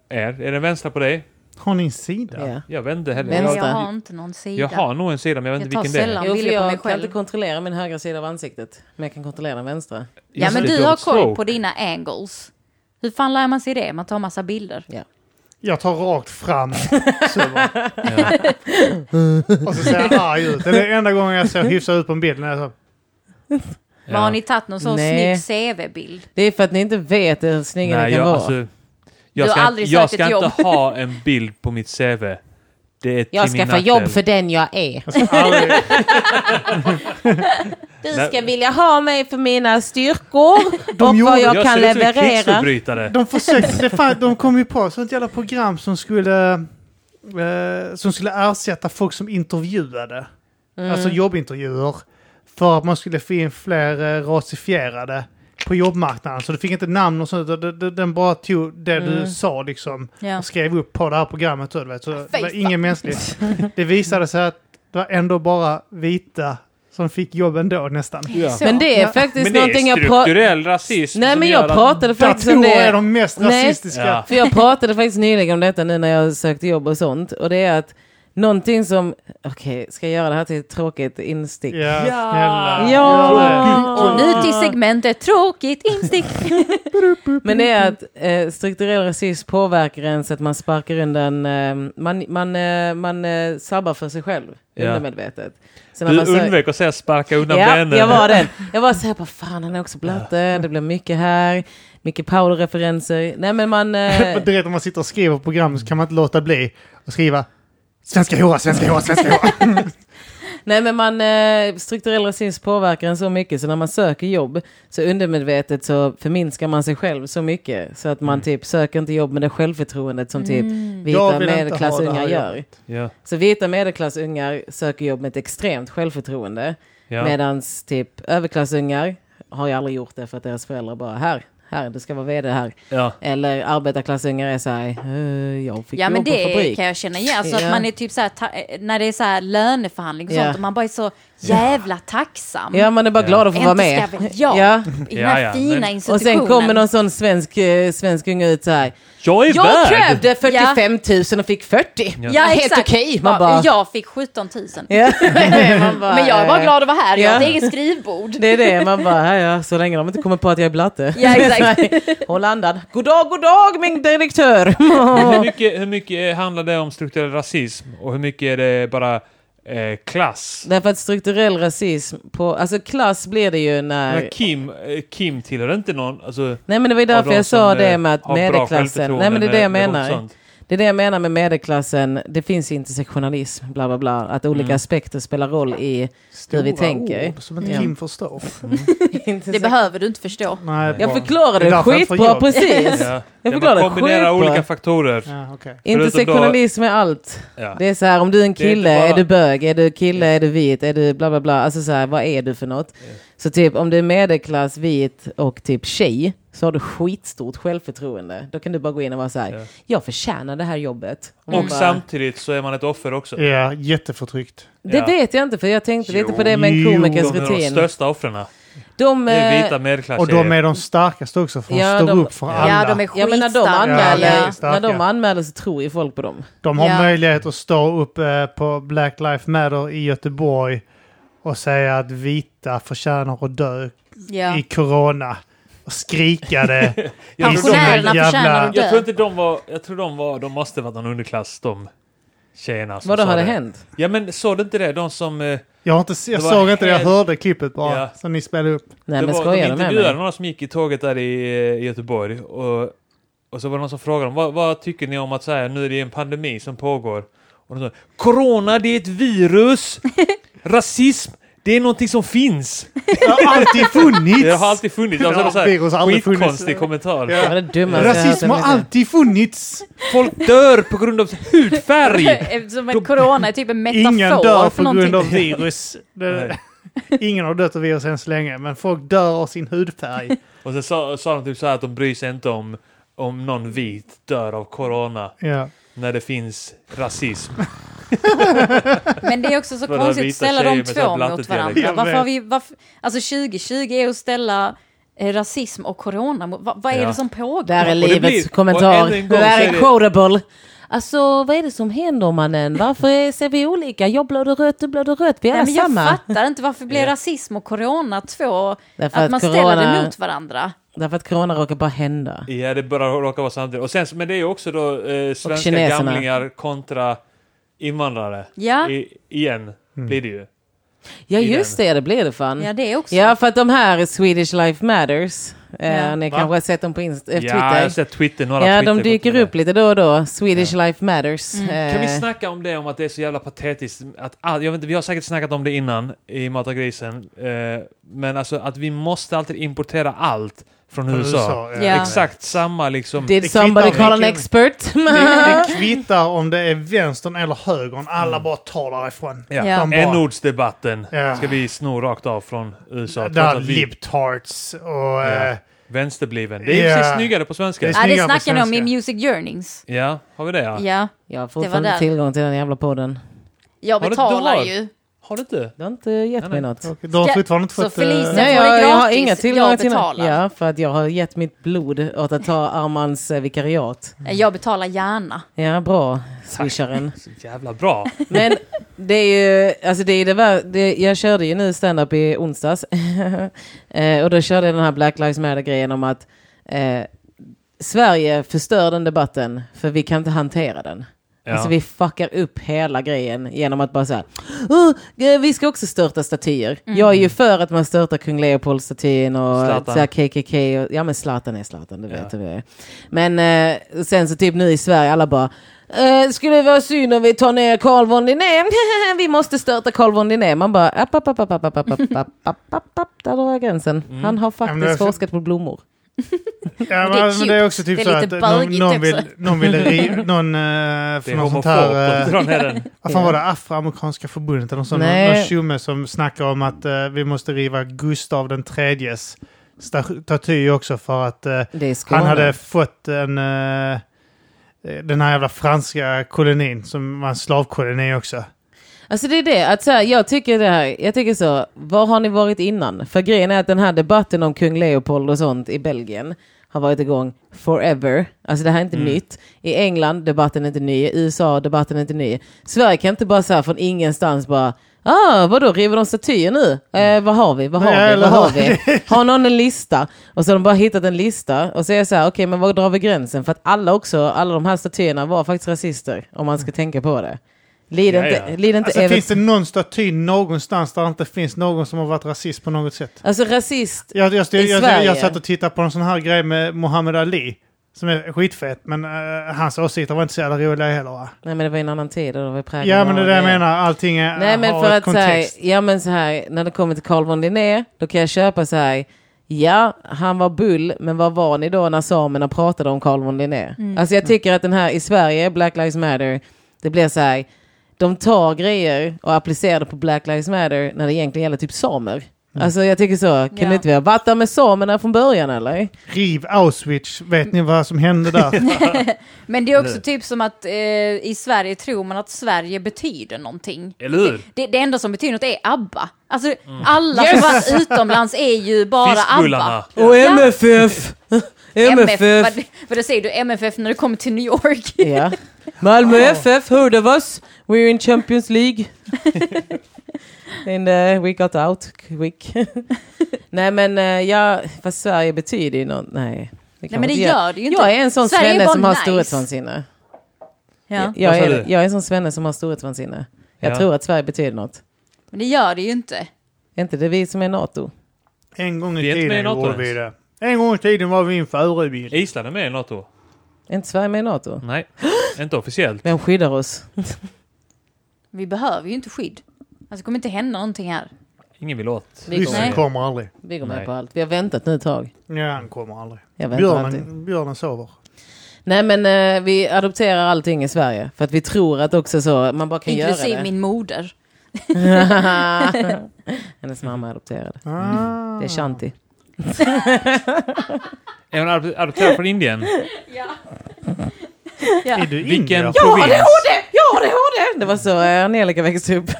er? Är den vänstra på dig? Har ni en sida? Ja. Jag vet inte heller. Men Vänster. Jag, jag har inte någon sida. jag har nog en sida men jag vet Jag inte tar vilken det är. sällan. Jo, för bilder på mig jag kan själv. inte kontrollera min högra sida av ansiktet. Men jag kan kontrollera den vänstra. Ja, Just men det, du har don't koll på stroke. dina angles. Hur fan lär man sig det? Man tar massa bilder. Jag tar rakt fram. Så bara. och så ser jag arg ut. Det är den enda gången jag ser hyfsad ut på en bild. När jag så, Men har ni tagit någon sån Nej. snygg CV-bild? Det är för att ni inte vet hur snygga Nej, ni kan jag, vara. alltså, jag har ska, aldrig jag sökt ska ett jobb. inte ha en bild på mitt CV. Det är till jag min ska få nackdel. Alltså, jobb för den jag är. jag ska aldrig... Du Nej. ska vilja ha mig för mina styrkor De och vad gjorde- jag, jag kan ser ut som en leverera. krigsförbrytare. De försökte, det fan, de kom ju på ett sånt jävla program som skulle, eh, som skulle ersätta folk som intervjuade. Alltså jobbintervjuer. För att man skulle få in fler eh, rasifierade på jobbmarknaden. Så du fick inte namn och sånt. utan det- det- Den bara tog det du sa liksom. Ja. Och skrev upp på det här programmet. Så, du vet. så det Fy var fan. ingen mänsklig. Det visade sig att det var ändå bara vita som fick jobb ändå nästan. Ja. Men det är Ja. faktiskt Men det någonting är jag pratar... strukturell rasism Nej som men gör jag att- pratade faktiskt om Datorer det. är de mest Nej. rasistiska. Ja. För jag pratade faktiskt nyligen om detta nu när jag sökte jobb och sånt. Och det är att någonting som... Okej, ska jag göra det här till ett tråkigt instick? Ja, Ja. snälla. Ja! Och nu till segmentet tråkigt instick. Men det är att eh, strukturell rasism påverkar en så att man sparkar undan... Eh, man man, eh, man eh, sabbar för sig själv Ja. undermedvetet. Så när man Du sö- undvek att säga sparka undan Ja, benen. jag var den. Jag var så här, bara, fan han är också blatte, det blir mycket här, mycket Paolo-referenser. Nej men man... Eh, Men Du vet om man sitter och skriver program så kan man inte låta bli att skriva svenska hora, svenska hora, svenska hora. Nej men man, eh, strukturell rasism påverkar en så mycket så när man söker jobb så undermedvetet så förminskar man sig själv så mycket så att man typ söker inte jobb med det självförtroendet som typ vita Mm. Jag vill inte ha det medelklassungar här gör. jobbet. Ja, Så vita medelklassungar söker jobb med ett extremt självförtroende ja. medan typ överklassungar har ju aldrig gjort det för att deras föräldrar bara här, här, du ska vara vd här. ja. Eller arbetarklassungar är så här, "Eh, jag fick Ja jobb men på det fabrik. kan jag känna igen. Alltså Ja. att man är typ så här, ta- när det är så här löneförhandling och Ja. sånt och man bara är så jävla tacksam. Ja, man är bara glad att få Inte vara med. ska väl jag Ja. I den Ja, här ja, fina men- Och institutionen. sen kommer någon sån svensk, eh, svensk unge ut så här. Jag är Jag värd! krävde 45 000 och fick 40. Ja, Helt exakt. okej. Man Ja, bara... Jag fick 17 000. Ja. Man bara, Men jag är bara eh, glad att vara här. Jag har Ja. ett eget skrivbord. Det är det, man bara, ja, ja, så länge de inte kommer på att jag är blatte. Ja, exakt. Håll andan. God dag, god dag min direktör. Hur mycket, hur mycket handlar det om strukturell rasism och hur mycket är det bara eh, klass? Därför att strukturell rasism på, alltså klass blir det ju Men när... Kim, eh, Kim tillhör inte någon... Alltså, Nej men det var ju av därför de jag sa som, eh, det med att har bra medelklassen, självförtroende nej men det är det jag med- med något menar. sånt. Det är det jag menar med medelklassen, det finns intersektionalism, bla bla bla, att olika Mm. aspekter spelar roll i hur vi tänker. ord som inte Ja. Kim förstår. Det behöver du inte förstå. Nej, Jag bra. förklarade Det är det därför han får skitbra jobb. precis. Ja. Jag Ja, förklarar man kombinerar skitbra. olika faktorer. Ja, okej. Intersektionalism är allt. Ja. Det är så här, om du är en Det är inte kille, är, bara- Mm. du bög, är du kille, är du vit, är du bla bla bla. Alltså så här, vad är du för något? Så typ om du är medelklass, vit och typ tjej så har du skitstort självförtroende. Då kan du bara gå in och vara så här, Ja. jag förtjänar det här jobbet. Och man bara, samtidigt så är man ett offer också. Ja, jätteförtryckt. Det Ja. vet jag inte för jag tänkte lite på det med en Jo, komikers De är de rutin. största offren. De, Det är eh, vita Och de medelklasstjejer. är de starkaste också för de Ja, står de- upp för Ja, alla. Ja, de är Ja men när de skitstarka. anmäler, Ja, starka. när de anmäler så tror ju folk på dem. De har Ja. möjlighet att stå upp eh, på Black Lives Matter i Göteborg och säga att vita förtjänar att dö Ja. i corona. Och skrika Jag det. tror de är- Pensionärerna jävla- förtjänar att Jag tror dö. inte de var... Jag tror de var... De måste varit någon underklass de. tjejerna som Vadå, sa har det det hänt? Ja men såg du inte det? De som... eh, Jag, har inte, se- jag Det var såg inte det, jag helt- hörde klippet bara. Ja. Som ni spelade upp. Nej det men var, skojar de du med intervjuade mig? några som gick i tåget där i eh, Göteborg och, och så var det någon som frågade dem vad, vad tycker ni om att så här, nu är det en pandemi som pågår? Och de sa Corona det är ett virus! Rasism det är någonting som finns! Det har alltid funnits! Det har alltid funnits. Alltså, Ja, det är virus så har här, aldrig funnits. skitkonstig kommentar. Det Ja. var det dummaste Rasism jag har hört i mitt liv. alltid funnits! Folk dör på grund av hudfärg! Eftersom att corona är typ en metafor Ingen dör för på grund av någonting. virus. Det, ingen har dött av virus än så länge, men folk dör av sin hudfärg. Och sen sa, sa de typ så här att de bryr sig inte om om någon vit dör av corona Ja. när det finns rasism. Men det är också så Vadå, konstigt att vita ställa tjejer de med sån här två mot blattedialekt? varandra. Jag Varför har vet. vi, varför, alltså 2020 är att ställa eh, rasism och corona mot, vad, vad är Ja. det som pågår? Där är Och det livets blir- kommentar. och än Det en gång där så är är det- quotable. Alltså vad är det som händer mannen? Varför är- ser vi olika? Jag blöder rött, du blöder rött. Vi är Nej, men jag samma. fattar inte varför blir Ja. rasism och corona två, Därför att att man ställer corona- det mot varandra? Därför att corona råkar bara hända. Ja, det bara råkar vara samtidigt. Och sen, men det är ju också då eh, svenska kineserna. gamlingar kontra invandrare. Ja. I, igen blir det ju. Ja I just det, det blir det fan. Ja, det är också. Ja, för att de här är Swedish Life Matters, eh, Ja. ni Va? kanske har sett dem på Inst- eh, Ja, jag har Twitter. sett Twitter, några Ja, de Twitter- dyker upp lite då och då. Swedish Life Matters. Mm. Eh, Kan vi snacka om det, om att det är så jävla patetiskt? Att, all- jag vet inte, vi har säkert snackat om det innan i Mata grisen. Eh, men alltså att vi måste alltid importera allt från USA. Ja. Mm, Exakt samma liksom. Did Det somebody kvittar call an vilken- expert? Det, det kvittar om det är vänstern eller högern, alla bara tar därifrån. Mm. ja. Ja. De bara- N-ordsdebatten Ja. ska vi sno rakt av från USA. trots Där att vi- libtards och... eh, Vänsterbliven. Det är yeah. Ja. precis snyggare på svenska. Det är ja, det snyggare på snackar ni om i svenska. Music Journings. Ja, har vi det ja? Ja, Jag har Det var fortfarande där. tillgång till den jävla podden. jag Har du- du betalar har- ju. Har du inte? Du har inte gett mig något. och de har Ska- fortfarande inte så fått... eh, Felicia- Nej, Sen får jag, det jag har gratis. inga Jag tillgångar till något. betalar. Ja, för att jag har gett mitt blod åt att ta Armands eh, vikariat. Jag betalar gärna. Ja, bra, swisharen. Så jävla bra. Men det är ju, alltså det är det, vär- det jag körde ju nu stand-up i onsdags. eh, och då körde jag den här Black Lives Matter-grejen om att eh, Sverige förstör den debatten för vi kan inte hantera den. Ja. Alltså vi fuckar upp hela grejen genom att bara så här, "Åh, eh, vi ska också störta statyer. Jag är ju för att man störtar kung Leopold-statyn och Mm. Zlatan. så här KKK. Och, ja men Zlatan är Zlatan, det Ja. vet vi. är. Men eh, sen så typ nu i Sverige, alla bara, eh, skulle det vara synd om vi tar ner Carl von Linné? vi måste störta Carl von Linné. Man bara, app, app, app, app, app, app, app, app, app, app, app, app, där drar jag gränsen. Mm. Han har Ja, men det är faktiskt så- forskat på blommor. Ja, Men det är men, men det är cute. också typ Det är så att lite någon, bögigt någon också. vill, någon vill riva, någon, eh, Det för är någon homofobt sånt här, att eh, dra ner den. vad fan var det, afroamerikanska förbundet eller någon sån, Nej. någon tjomme som snackar om att eh, vi måste riva Gustav den tredjes sta- staty också för att eh, Det är Skåne. han hade fått en, eh, den här jävla franska kolonin som var en slavkoloni också. Alltså det är det, att så här, jag tycker det här, jag tycker så, var har ni varit innan? För grejen är att den här debatten om kung Leopold och sånt i Belgien har varit igång forever. Alltså det här är inte nytt. I England, debatten är inte ny. I USA, debatten är inte ny. Sverige kan inte bara så här från ingenstans bara, ah, vadå, river de statyer nu? Eh, vad har vi? Vad har Nej, vi? eller Vad har hur? vi? Har någon en lista? Och så har de bara hittat en lista och så är jag så här, okej men var drar vi gränsen? För att alla också, alla de här statyerna var faktiskt rasister om man ska tänka på det. Lider Ja, inte, ja. lider inte Alltså även- finns det någon staty någonstans där det inte finns någon som har varit rasist på något sätt? Alltså rasist. Jag, jag, jag, I jag, Sverige? jag satt och tittade på en sån här grej med Muhammad Ali. Som är skitfett, men eh, hans åsikter var inte så jävla roliga heller va? Nej men det var en annan tid och det var präglat Ja av men det är det jag det. menar, allting är, Nej men har för ett att så här, kontext. ja men så här, när det kommer till Carl von Linné, då kan jag köpa så här, ja han var bull, men vad var ni då när samerna pratade om Carl von Linné? Mm. Alltså jag tycker att den här i Sverige, Black Lives Matter, det blir så här, de tar grejer och applicerar det på Black Lives Matter när det egentligen gäller typ samer. Mm. Alltså jag tycker så, kan Ja. ni inte vi ha varit där med samerna från början eller? Riv Auschwitz, vet ni vad som hände där? Men det är också typ som att eh, i Sverige tror man att Sverige betyder någonting. Eller hur? Det, det enda som betyder något är ABBA. Alltså Mm. alla som varit utomlands är ju bara Fiskbullarna. ABBA. Ja. MFF! MF, vad, vad säger du MFF när du kommer till New York? Ja. Malmö FF heard of us. We're in Champions League. And uh, we got out quick. Nej men eh, ja, vad Sverige betyder ju något. Nej. Nej men det gör det ju inte. Jag är en sån Sverige är svenne bara som har nice. storhetsvansinne. Ja. Jag, Vad sa är, du? jag är en sån svenne som har storhetsvansinne. Jag Ja. tror att Sverige betyder något. Men det gör det ju inte. Är inte det vi som är NATO? En gång i Vi är inte med i tiden NATO gjorde ens. vi det. En gång i tiden var vi en förebild. Island är med i NATO? Är inte Sverige med i NATO? Nej, inte officiellt. Vem skyddar oss? Vi behöver ju inte skydd. Alltså det kommer inte hända någonting här. Ingen vill åt. Vi går, Nej. Ryssen med, kommer aldrig. vi går med Nej. på allt. Vi har väntat nu ett tag. Ja, han kommer aldrig. Jag väntar alltid. Björnen, björnen sover. Nej men eh, vi adopterar allting i Sverige. För att vi tror att också så, man bara kan Inklusive göra det. min moder. Hennes mamma är adopterad. Ah. Det är Shanti. Är hon adop- adopterad från Indien? Är Ja. du Vilken indier? provins? Ja, det har det! Det var så eh, Angelica växte upp.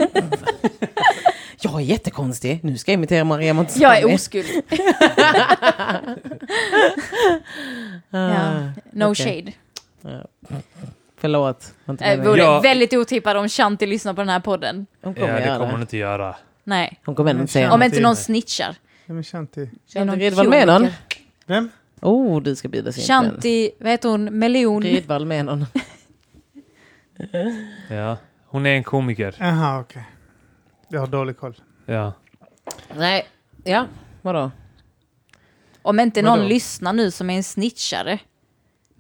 jag är jättekonstig. Nu ska jag imitera Maria Montazami. Jag är oskuld. Ah, Ja. No okej. shade. Förlåt. Var inte Eh, meningen. vore Ja. väldigt otippat om Shanti lyssnar på den här podden. Hon kommer Ja, det göra kommer hon det. inte göra. Nej. Hon kommer ändå inte säga Ja, Om något. men inte det är någon det. snitchar. Ja, men Shanti. Det är någon Shanti Rydwall Menon. kroniker. Vem? Oh, du ska bjudas in. på den. Shanti, vad heter hon, Melon? Rydwall Menon. Ja. Hon är en komiker. Jaha, okej. Jag har dålig koll. Ja. Nej, ja, vadå? Om inte någon Vadå? lyssnar nu som är en snitchare.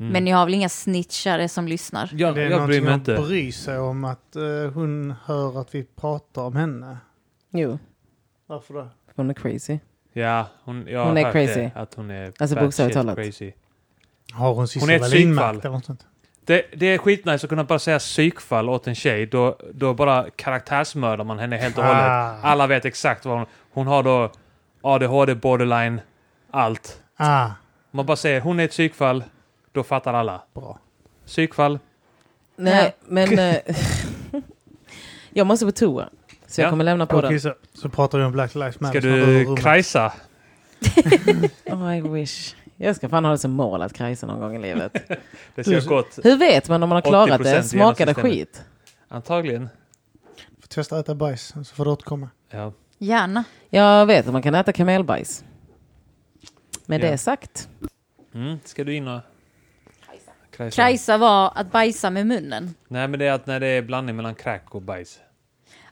Men ni har väl inga snitchare som lyssnar? Mm. Jag, Det är jag bryr någonting mig att inte. bry sig om att eh, hon hör att vi pratar om henne. Jo, Varför då? hon är crazy. Ja, hon, jag har Hon är hört crazy. Det, att hon är Alltså bad bokstavligt shit talat. crazy. Har hon Hon är ett Sissela Lindmark psykfall. eller något sånt? Det, det är skitnice att kunna bara säga psykfall åt en tjej. Då, då bara karaktärsmördar man henne helt och hållet. Ah. Alla vet exakt vad hon... Hon har då ADHD, borderline, allt. Ah, Man bara säger hon är ett psykfall, då fattar alla. bra. Psykfall. Nej, men... eh, jag måste på toa. Så jag Ja. kommer lämna på Okej, den. så, så pratar vi om Black Lives Matter. Ska Så har du rummet. krajsa? Oh, I wish. Jag ska fan ha det som mål att krajsa någon gång i livet. Det ser gott. Hur vet man om man har klarat 80% det? Smakar det genom systemet. skit? Antagligen. Får testa att äta bajs, så får du återkomma. Ja. Gärna. Jag vet att man kan äta kamelbajs. Med Ja. det sagt. Mm. Ska du in och... Krajsa. Krajsa var att bajsa med munnen. Nej, men det är att när det är blandning mellan kräk och bajs.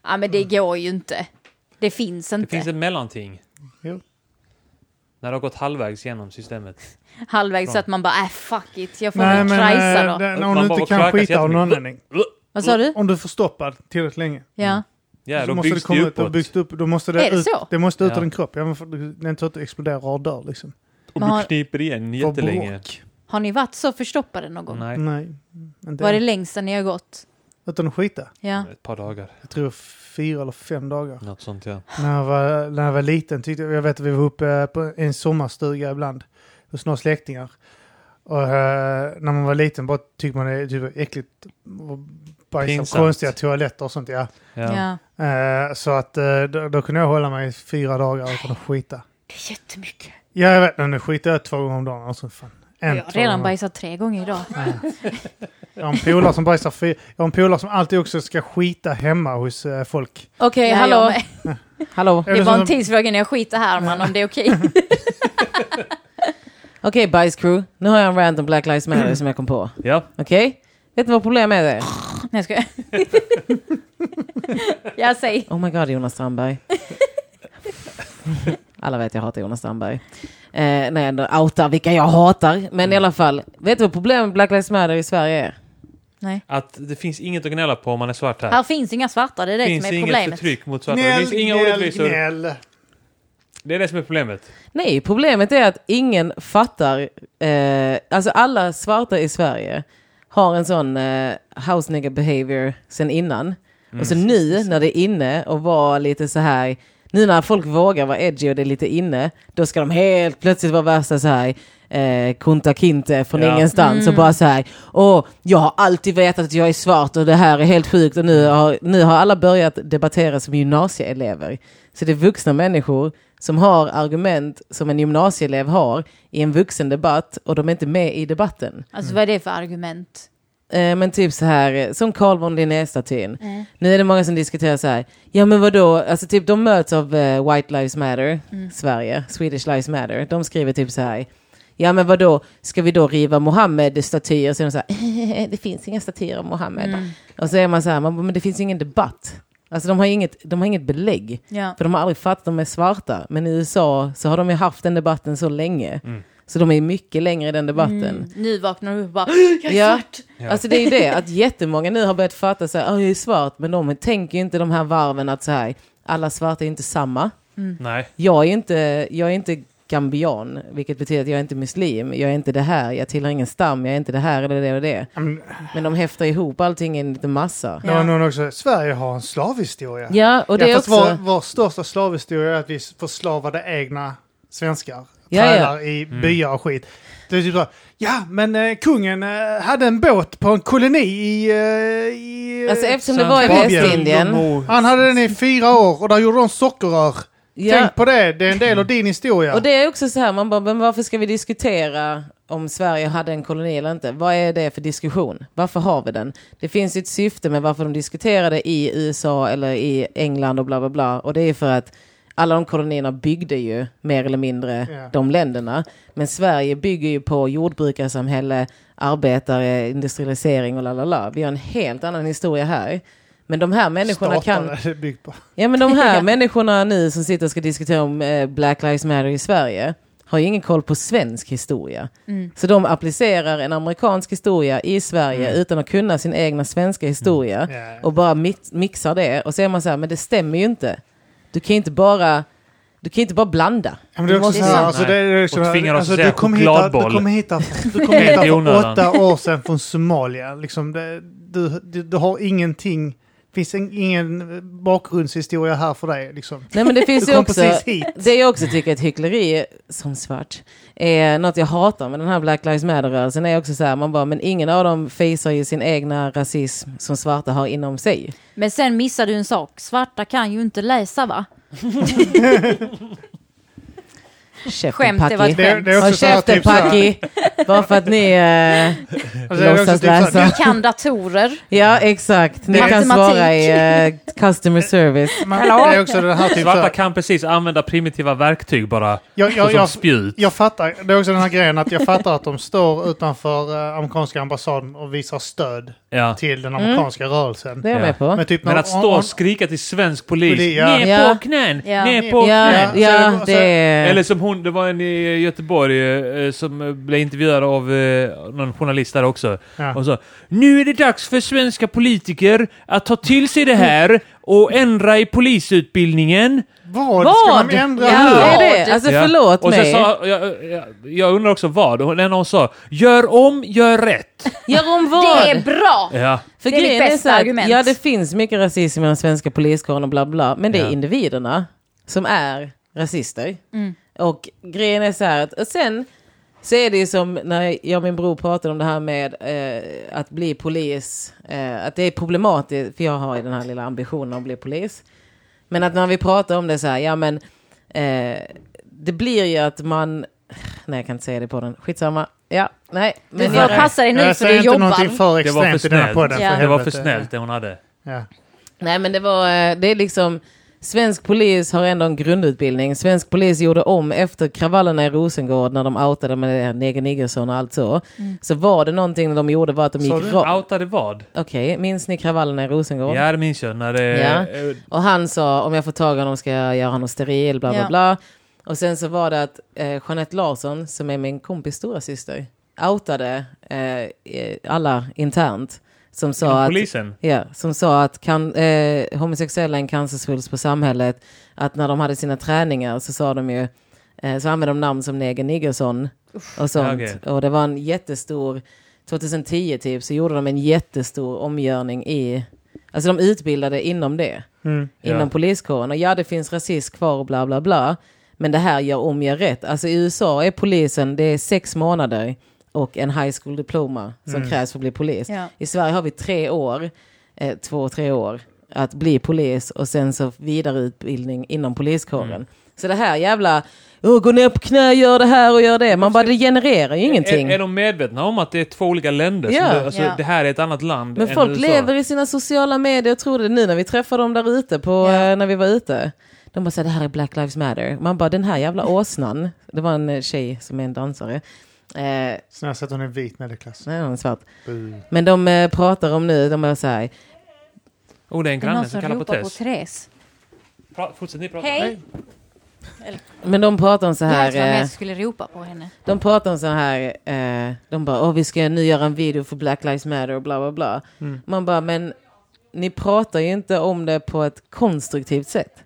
Ja men det går ju inte. Det finns Det inte. finns ett mellanting. Jo. När det har gått halvvägs genom systemet. Halvvägs så att man bara äh fuck it, jag får Nej, väl men krajsa eh, Mm. då. den, Man om du bara inte kan kräkas skita av någon jättemycket. anledning. Vad sa du? Om du får stoppa tillräckligt länge. Ja. Ja, så då måste det byggs det komma ut uppåt. och byggs upp. Då måste det Är det ut, så? det måste ut Ja. ur din kropp. Ja, men för, det är inte så att det exploderar och dör liksom. Och Man har- du kniper igen För jättelänge. bråk. Har ni varit så förstoppade någon gång? Nej, Nej. Inte Var det än. längst ni har gått? Utan att skita. Ja. ett par dagar. Jag tror fyra eller fem dagar. Något sånt Mm. ja. När jag var, när jag var liten tyckte jag, jag vet att vi var uppe på en sommarstuga ibland hos några släktingar. Och eh, när man var liten bara tyckte man det typ, var äckligt och bajsa och Pinsamt. konstiga toaletter och sånt. Ja. ja. ja. Eh, så att eh, då, då kunde jag hålla mig i fyra dagar utan att skita. Det är jättemycket. Ja, jag vet, men nu skiter jag två gånger om dagen. Alltså, fan. En, Jag har två redan gånger. bajsat tre gånger idag. Jag har en polare som bajsar fyra. Jag har en polare som alltid också ska skita hemma hos eh, folk. Okej, Ja, jag hallå. med. hallå. Eller Det var som- en tidsfråga när jag skiter här man, om det är okej. Okej, bajscrew. Nu har jag en rant om Black Lives Matter som jag kom på. ja. Okej? Vet ni vad problemet är? Nej jag skojar. Jag säger. Oh my god, Jonas Strandberg. Alla vet jag hatar Jonas Strandberg. Eh, när jag ändå outar vilka jag hatar. Men i alla fall, vet du vad problemet med Black Lives Matter i Sverige är? Nej. Att det finns inget att gnälla på om man är svart här. Här finns inga svarta, det är det finns som är inget problemet. förtryck mot svarta. det finns inga orättvisor. gnäll. Det är det som är problemet. Nej, problemet är att ingen fattar. Eh, alltså alla svarta i Sverige har en sån eh, house nigger behavior sen innan. Och så nu när det är inne och vara lite så här. Nu när folk vågar vara edgy och det är lite inne. Då ska de helt plötsligt vara värsta så här. Eh, kunta kinte från Ja. ingenstans och bara så här. Åh, jag har alltid vetat att jag är svart och det här är helt sjukt. Och nu har, nu har alla börjat debattera som gymnasieelever. Så det är vuxna människor som har argument som en gymnasieelev har i en vuxen debatt och de är inte med i debatten. Mm. Alltså vad är det för argument? Eh, men typ så här, eh, som Carl von Linné-statyn. Nu är det många som diskuterar så här, ja men vadå, alltså typ de möts av eh, White Lives Matter, Sverige, Swedish Lives Matter. De skriver typ så här, ja men vad då ska vi då riva Mohammed-statyer? Så är de så här, det finns inga statyer av Mohammed. Och så är man så här, man, bara, men det finns ju ingen debatt. Alltså de har, inget, de har inget belägg. Ja. För de har aldrig fattat att de är svarta. Men i USA så har de ju haft den debatten så länge. Så de är ju mycket längre i den debatten. Nu vaknar du upp och bara jag är Ja. svart. Alltså det är ju det, att jättemånga nu har börjat fatta så här, "Ah, jag är svart, men de tänker ju inte de här varven att så här, alla svarta är inte samma. Mm. Nej. Jag är inte, jag är inte gambian, vilket betyder att jag är inte muslim, jag är inte det här, jag tillhör ingen stam, jag är inte det här eller det och det. Men, Men de häftar ihop allting i en liten massa. Det var någon också, Sverige har en slavhistoria. Ja, och det ja, är fast också... vår, vår största slavhistoria är att vi förslavade egna svenskar. Ja, ja. Trälar i byar och skit. Det är typ så, här, ja men eh, kungen eh, hade en båt på en koloni i... Eh, i eh, Alltså eftersom det var i Samt Babylon, Västindien. han hade den i fyra år och där gjorde de sockerrör. Ja, Tänk på det, det är en del av din historia. och det är också så här, man bara, men varför ska vi diskutera om Sverige hade en koloni eller inte? Vad är det för diskussion? Varför har vi den? Det finns ju ett syfte med varför de diskuterar det i USA eller i England och bla bla bla. Och det är för att alla de kolonierna byggde ju mer eller mindre Ja. de länderna. Men Sverige bygger ju på jordbrukarsamhälle, arbetare, industrialisering och la la la. Vi har en helt annan historia här. Men de här människorna kan... Statarna är byggt på. Ja men de här Ja. människorna nu som sitter och ska diskutera om eh, Black Lives Matter i Sverige har ju ingen koll på svensk historia. Så de applicerar en amerikansk historia i Sverige utan att kunna sin egna svenska historia Ja. och bara mix, mixar det och så är man så här, men det stämmer ju inte. Du kan ju inte bara, du kan ju inte bara blanda. Ja, men det är också så här, alltså, det är också Och så här, tvingar oss alltså, att säga du kom hit, du chokladboll. kom hit, du kom hit Helt i för onödan. åtta år sedan från Somalia. Liksom, det, du, du, du har ingenting, det finns en, ingen bakgrundshistoria här för dig. Liksom. Nej men det Du finns ju kom också, precis hit. det jag också tycker är ett hyckleri som svart är något jag hatar med den här Black Lives Matter-rörelsen är också så här, man bara, men ingen av dem facear ju sin egna rasism som svarta har inom sig. Men sen missar du en sak. Svarta kan ju inte läsa va? Käften, Skämt, det Paki. var ett Det, det är Håll också så här, käften typ så här, Paki! Bara för att ni... Eh, alltså, det är också Låtsas typ så här, läsa. Vi kan datorer. ja, exakt. Ni kan Matematik. svara i eh, customer service. man- Det är också den här typ så Svarta här, kan precis använda primitiva verktyg bara. jag, jag, som jag, spjut. jag fattar, det är också den här grejen att jag fattar att de står utanför eh, amerikanska ambassaden och visar stöd Ja. till Mm. den amerikanska rörelsen. Det är jag Ja. med på. typ Men när- att stå om- och skrika till svensk polis. Polis, ja. Ner Ja. på knän! Ja. Ner på knän! Ja, Nej. ja, det Eller är... som hon, det var en i Göteborg eh, som eh, blev intervjuad av eh, någon journalist där också. Ja. Och så, nu är det dags för svenska politiker att ta till sig det här och ändra i polisutbildningen. Vad? Ska Vad? man ändra Ja, nu? det är det. Alltså Ja. förlåt och sen mig. sa, jag, jag, jag undrar också vad. Och Den hon sa, gör om, gör rätt. Gör om vad? Det är bra! Ja. För Det är grejen mitt är bästa så här att, argument. Ja, det finns mycket rasism inom svenska poliskåren och bla bla, men det är Ja. individerna som är rasister. Mm. Och grejen är så här att, och sen så är det ju som när jag och min bror pratade om det här med eh, att bli polis, eh, att det är problematiskt, för jag har ju den här lilla ambitionen att bli polis. Men att när vi pratar om det så här, ja men eh, det blir ju att man, nej jag kan inte säga det på den, skitsamma. Ja, nej. Du Men får passa dig nu Jag för du säger inte jobbar. någonting för Det var för extremt i den här snällt. podden. Ja. för Det var för helvete. snällt det hon hade. Ja. Nej men det var, eh, det är liksom Svensk polis har ändå en grundutbildning. Svensk polis gjorde om efter kravallerna i Rosengård när de outade med det här Neger Niggersson och allt så. Så var det någonting de gjorde var att de Mm. Sa gick du? rakt... Outade vad? Okej, minns ni kravallerna i Rosengård? Ja, det minns jag. När det, Ja. eh, Och han sa om jag får tag i honom ska jag göra honom steril, bla bla Ja. bla. Och sen så var det att eh, Jeanette Larsson, som är min kompis stora syster, outade eh, eh, alla internt. Som sa inom att, polisen. Ja, som sa att kan, eh, homosexuella är en cancersvulst på samhället. Att när de hade sina träningar så sa de ju, eh, så använde de namn som Neger Niggersson och sånt. Ja, okej. Och det var en jättestor, 2010 typ, så gjorde de en jättestor omgörning i, alltså de utbildade inom det, inom Ja. poliskåren. Och ja, det finns rasism kvar och bla bla bla. Men det här gör om jag rätt. Alltså i USA är polisen, det är sex månader och en high school diploma som krävs för att bli polis. Ja. I Sverige har vi tre år, eh, två, tre år att bli polis och sen så vidareutbildning inom poliskåren. Så det här jävla, "Åh, gå ner på knä, gör det här och gör det. Man bara, det genererar ju ingenting. Är, är de medvetna om att det är två olika länder? Ja. Som, alltså, Ja. Det här är ett annat land Men än folk USA. lever i sina sociala medier, tror det nu när vi träffar dem där ute, på, Ja. eh, när vi var ute. De bara säger det här är Black Lives Matter. Man bara den här jävla åsnan. Det var en eh, tjej som är en dansare. Eh, Snälla säg att hon är vit medelklass. nej, hon är svart. Mm. Bu. Men de eh, pratar om nu, de är så här. Oh, det är en Det är någon granne som som kallar på ropar på Tess. Therese. Pra- Fortsätt ni prata. Hej! Men de pratar om så Jag tror här. jag Eh, skulle ropa på henne. de pratar om så här. Eh, de bara, åh vi ska nu göra en video för Black Lives Matter och bla bla bla. Man bara, men ni pratar ju inte om det på ett konstruktivt sätt.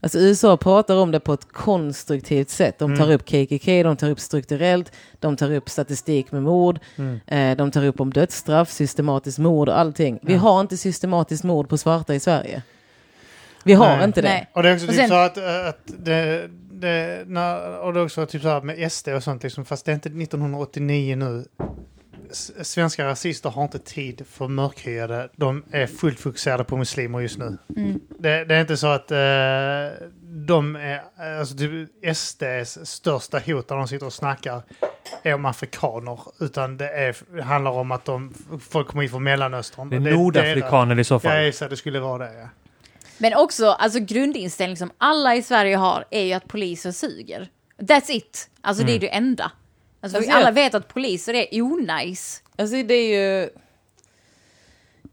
Alltså USA pratar om det på ett konstruktivt sätt. De tar upp KKK, de tar upp strukturellt, de tar upp statistik med mord, eh, de tar upp om dödsstraff, systematiskt mord och allting. Vi har inte systematiskt mord på svarta i Sverige. Vi har Nej. inte det. Nej. Och det är också Och typ sen- så att, eh, att det, det, när, och det är också typ så här med SD och sånt liksom, fast det är inte 1989 nu. S svenska rasister har inte tid för mörkhyade. De är fullt fokuserade på muslimer just nu. Mm. Det, det är inte så att eh, de är, alltså typ SDs största hot när de sitter och snackar är om afrikaner. Utan det är, handlar om att de, folk kommer in från Mellanöstern. Det Och är nordafrikaner i så Ja, fall. just det. Det skulle vara det, ja. Men också, alltså grundinställning som alla i Sverige har är ju att poliser suger. That's it. Alltså det är det enda. Alltså, Mm. Alltså, vi alla jag- vet att poliser är onajs. Alltså det är ju...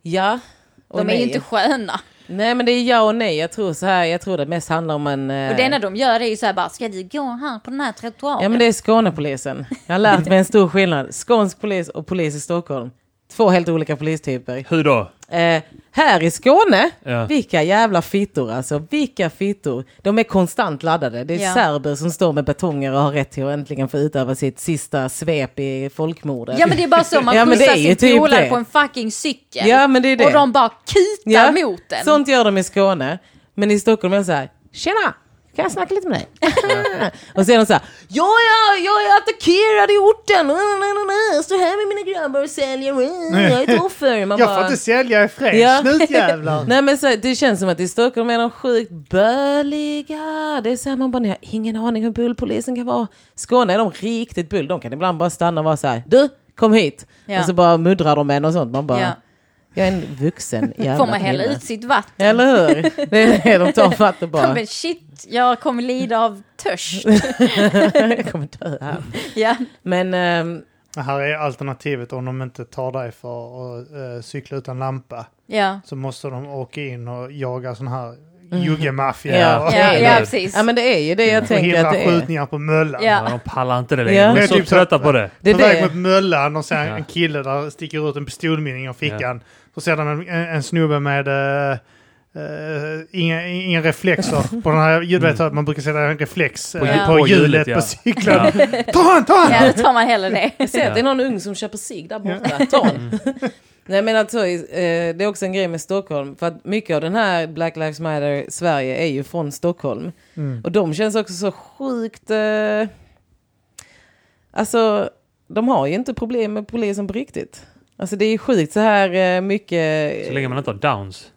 Ja. och De är ju nej. inte sköna. Nej men det är ja och nej. Jag tror så här, jag tror det mest handlar om en... eh, Och det enda de gör är ju så här bara, ska vi gå här på den här trottoaren? Ja men det är Skånepolisen. Jag har lärt mig en stor skillnad. Skånsk polis och polis i Stockholm. Två helt olika polistyper. Hur då? Eh, här i Skåne, Ja. vilka jävla fittor alltså. Vilka fittor. De är konstant laddade. Det är Ja. serber som står med betonger och har rätt till att äntligen få utöva sitt sista svep i folkmordet. Ja men det är bara så, man Ja, men det skjutsar är ju sin typ polare det. på en fucking cykel. Ja, men det är det. Och de bara kutar mot den. Sånt gör de i Skåne. Men i Stockholm är de så här, tjena! Kan jag snacka lite med dig? och så är de så här, ja, ja, jag är attackerad i orten. Mm, mm, mm, mm. Jag står här med mina grabbar och säljer. Mm, jag är ett offer. Man Jag bara- får inte sälja, jag är fräsch. Ja. Snutjävlar. Nej men så, här, det känns som att i Stockholm är de sjukt böliga. Det är så här, man bara, ni har ingen aning hur bullpolisen kan vara. Skåne är de riktigt bull. De kan ibland bara stanna och vara så här, du, kom hit. Ja. Och så bara muddrar de en och sånt. Man bara, Ja. jag är en vuxen jävla Får man hälla kvinna." ut sitt vatten? Eller hur? Det är det de tar fatt Ja, och bara, men shit, jag kommer lida av törst. jag kommer dö här. ja. Men ehm, Det här är alternativet om de inte tar dig för att eh, cykla utan lampa. Ja. Så måste de åka in och jaga sån här jugge-maffia. Mm. Ja. och- Ja, eller ja, hur? precis. ja, men det är ju det jag Och tänker att hindra det är. skjutningar på Möllan. Ja. Ja, de pallar inte det längre. Ja. De Det är är så typ så- trötta på det. Det är på väg mot det. Möllan och sen Ja. en kille där sticker ut en pistolmynning ur fickan. Så ser de en, en, en snubbe med eh, eh, inga, inga reflexer. på den här, du vet att man brukar sätta en reflex eh, Mm. På på, hjul- på hjulet, hjulet ja. på cykeln. Ta han, ta han! Ja, då tar man hellre det. Jag ser att det är någon ung som köper sig där borta. Ta en. Mm. Nej men alltså, eh, det är också en grej med Stockholm. För att mycket av den här Black Lives Matter Sverige är ju från Stockholm. Mm. Och de känns också så sjukt... Eh, alltså, de har ju inte problem med polisen på riktigt. Alltså det är sjukt så här eh, mycket... Så länge man inte har downs.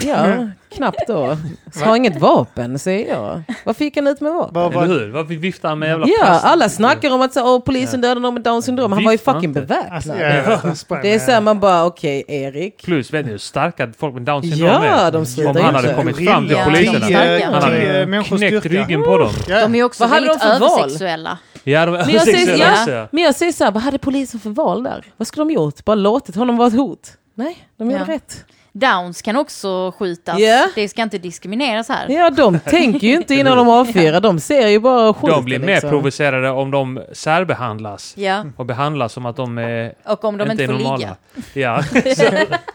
Ja, knappt då. Så har inget vapen, säger jag. Vad fick han ut med vapen? Bara, Eller bara, hur? Varför viftar han med jävla Ja, plast? alla snackar om att så, åh, polisen dödade någon med down syndrom. Han var ju Visst, fucking inte. alltså, beväpnad. ja, ja, han sprang Det är med- så här, man bara, okej, Erik. Plus, vet ni hur starka folk med Downs syndrom Ja, är? de Om slutar ju han hade inte. kommit fram till Ja, poliserna. de är Han hade Mm. Eh, människors knäckt styrka. Mm. ryggen på dem. Ja. De är ju också Vad hade väldigt de för val? översexuella. Ja, de Alltså, var Men jag, säger, sexuella också, ja, men jag säger så här, vad hade polisen för val där? Vad skulle de gjort? Bara låtit honom vara ett hot? Nej, de gjorde Ja. rätt. Downs kan också skjutas. Ja. Det ska inte diskrimineras här. Ja, de tänker ju inte innan de avfyrar. De ser ju bara och skjuter. De blir mer liksom. provocerade om de särbehandlas. Ja. Och behandlas som att de är... Och om de inte, är får normala. ligga. Ja.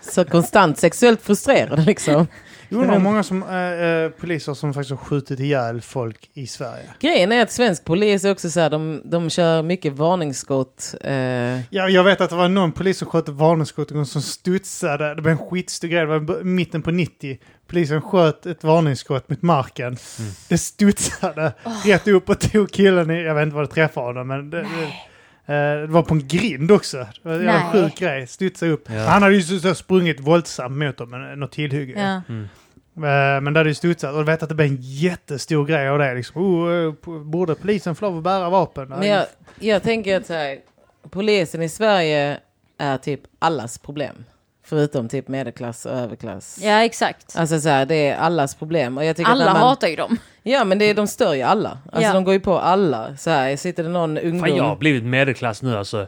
Så konstant sexuellt frustrerade liksom. Jag undrar hur många som, eh, eh, poliser som faktiskt har skjutit ihjäl folk i Sverige. Grejen är att svensk polis är också så här, de, de kör mycket varningsskott. Eh, Jag, jag vet att det var någon polis som sköt ett varningsskott en gång som studsade. Det var en skitstor grej, det var i b- mitten på 90. Polisen sköt ett varningsskott mot marken. Mm. Det studsade rätt upp och tog killen i, jag vet inte vad det träffade honom, men det, det, eh, det var på en grind också. Det var en jävla Nej. sjuk grej, studsade upp. Ja. Han hade ju så, så sprungit våldsamt mot dem, men, eh, något tillhygge. Ja. Eh, Men det hade ju studsat och jag vet att det blev en jättestor grej av det. Liksom, oh, eh, p- borde polisen få lov att bära vapen? Men jag, jag tänker att så här, polisen i Sverige är typ allas problem. Förutom typ medelklass och överklass. Ja, exakt. Alltså så här, det är allas problem. Och jag tycker Alla att när man, hatar ju dem. Ja men det är, de stör ju alla. Alltså Ja. de går ju på alla. Så här, sitter det någon ungdom. Fan, jag har blivit medelklass nu alltså.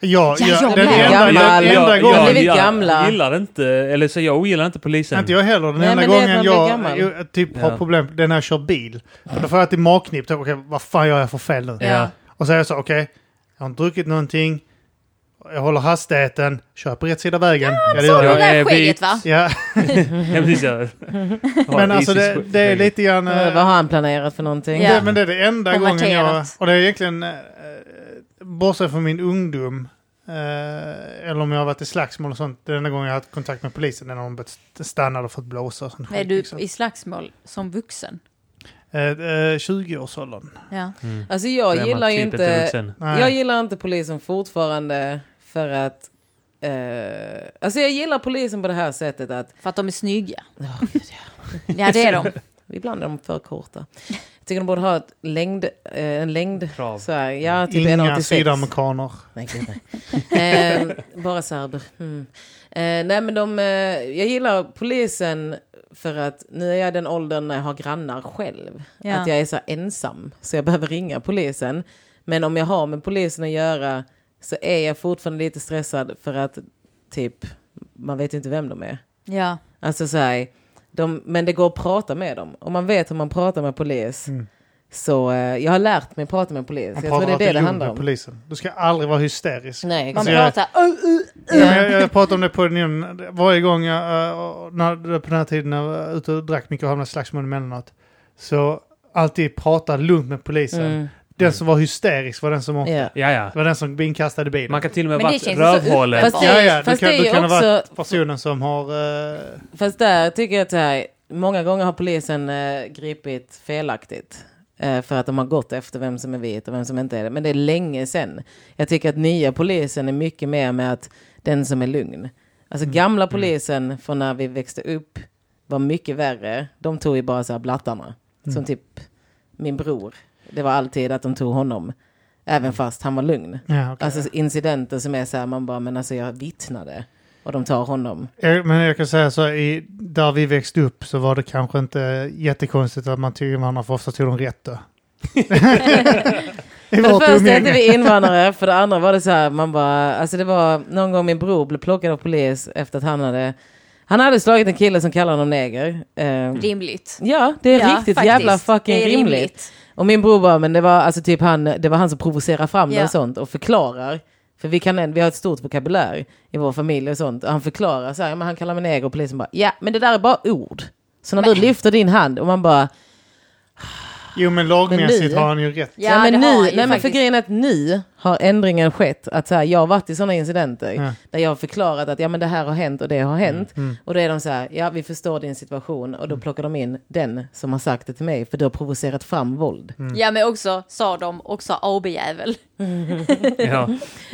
Ja, ja, Ja, jag den med. enda, Gammal. den enda Ja, gången... blivit gillar- gamla. gillar inte, eller så jag ogillar inte polisen. Inte jag heller. Den Nej, enda men det är att gången man blir jag gammal. eh, typ har Ja. problem, det är när jag kör bil. För då får jag till magknip. Okej, vad fan gör jag för fel nu? Ja. Ja. Och så är jag så, okej, jag har inte druckit någonting. Jag håller hastigheten. Kör jag på rätt sida av vägen. Ja, det Så gör det jag. är där skägget vit. va? Ja, Ja, precis, jag har men ett alltså det, isis- det är lite grann... eh, Eh, Vad har han planerat för någonting? Ja. det, men det är det enda gången jag... Konverterat. Och det är egentligen, eh, bortsett från min ungdom, eh, eller om jag har varit i slagsmål och sånt, det är den enda gången jag har haft kontakt med polisen, det är när de blivit stannade och fått blåsa och sånt Är skit, du liksom. i slagsmål som vuxen? Eh, eh, 20-årsåldern. Ja. Mm. Alltså jag Då är man gillar ju typ inte... vuxen. Nej. Jag gillar inte polisen fortfarande för att... Eh, alltså jag gillar polisen på det här sättet att... För att de är snygga. Åh, gud, ja. Ja, det är de. Ibland är de för korta. Jag tycker de borde ha ett längd, eh, en längd... Krav. Så här, ja, typ Inga 1,86. sydamerikaner. Nej, gud, nej. eh, bara serber. Mm. Eh, nej, men de, eh, jag gillar polisen för att nu är jag i den åldern när jag har grannar själv. Ja. Att jag är så här ensam, så jag behöver ringa polisen. Men om jag har med polisen att göra så är jag fortfarande lite stressad för att typ, man vet ju inte vem de är. Ja. Alltså så här, de, men det går att prata med dem. Om man vet hur man pratar med polis. Så eh, jag har lärt mig att prata med polis. Mm. Man Jag tror det är det det lugn handlar med om. polisen. Du ska aldrig vara hysterisk. Nej, Man Alltså, jag- pratar... "Åh, uh, Ja, men jag, jag pratade om det på den innan. Varje gång jag, eh, när, på den här tiden när jag var ute och drack mycket och hamnade i slagsmål emellanåt. Så alltid prata lugnt med polisen. Mm. Den som var hysterisk var den som åkte. Ja. Ja, ja. Det var den som blev inkastad i bilen. Man kan till och med Men det varit känns ju så rövhålen. uppenbart. Fast det, ja, ja, du fast kan, det är du ju kan ha också, varit personen som har... eh, fast där tycker jag att så här, många gånger har polisen eh, gripit felaktigt. Eh, för att de har gått efter vem som är vit och vem som inte är det. Men det är länge sedan. Jag tycker att nya polisen är mycket mer med att den som är lugn. Alltså gamla polisen från när vi växte upp var mycket värre. De tog ju bara så här blattarna. Som typ min bror. Det var alltid att de tog honom. Även fast han var lugn. ja, okej. Alltså incidenter som är så här, man bara, men alltså jag vittnade. Och de tar honom. Eh, Men jag kan säga så, i, där vi växte upp så var det kanske inte jättekonstigt att man tog in varandra för ofta tog de rätt då. I För det vårt första är inte umgänge. vi invandrare, för det andra var det så här, man bara, alltså det var någon gång min bror blev plockad av polis efter att han hade, han hade slagit en kille som kallar honom neger. Eh, Rimligt. ja, det är Ja, riktigt faktiskt. jävla fucking Det är rimligt. Och min bror bara, men det var alltså typ han, det var han som provocerar fram det Ja. och sånt och förklarar. För vi, kan, en- vi har ett stort vokabulär i vår familj och sånt. Och han förklarar så här, ja, men han kallar mig neger och polisen bara, ja men det där är bara ord. Så när du lyfter din hand och man bara, Jo men Men lagmässigt nu- har han ju rätt. Ja, Ja, det men har nu, han ju nej, men för faktiskt. grejen är att nu har ändringen skett. Att så här, jag har varit i sådana incidenter Ja. där jag har förklarat att ja, men det här har hänt och det har hänt. Mm, Och då är de så här, ja vi förstår din situation. Och då plockar de in den som har sagt det till mig för du har provocerat fram våld. Mm. Ja, men också sa de också AB-jävel. Ja.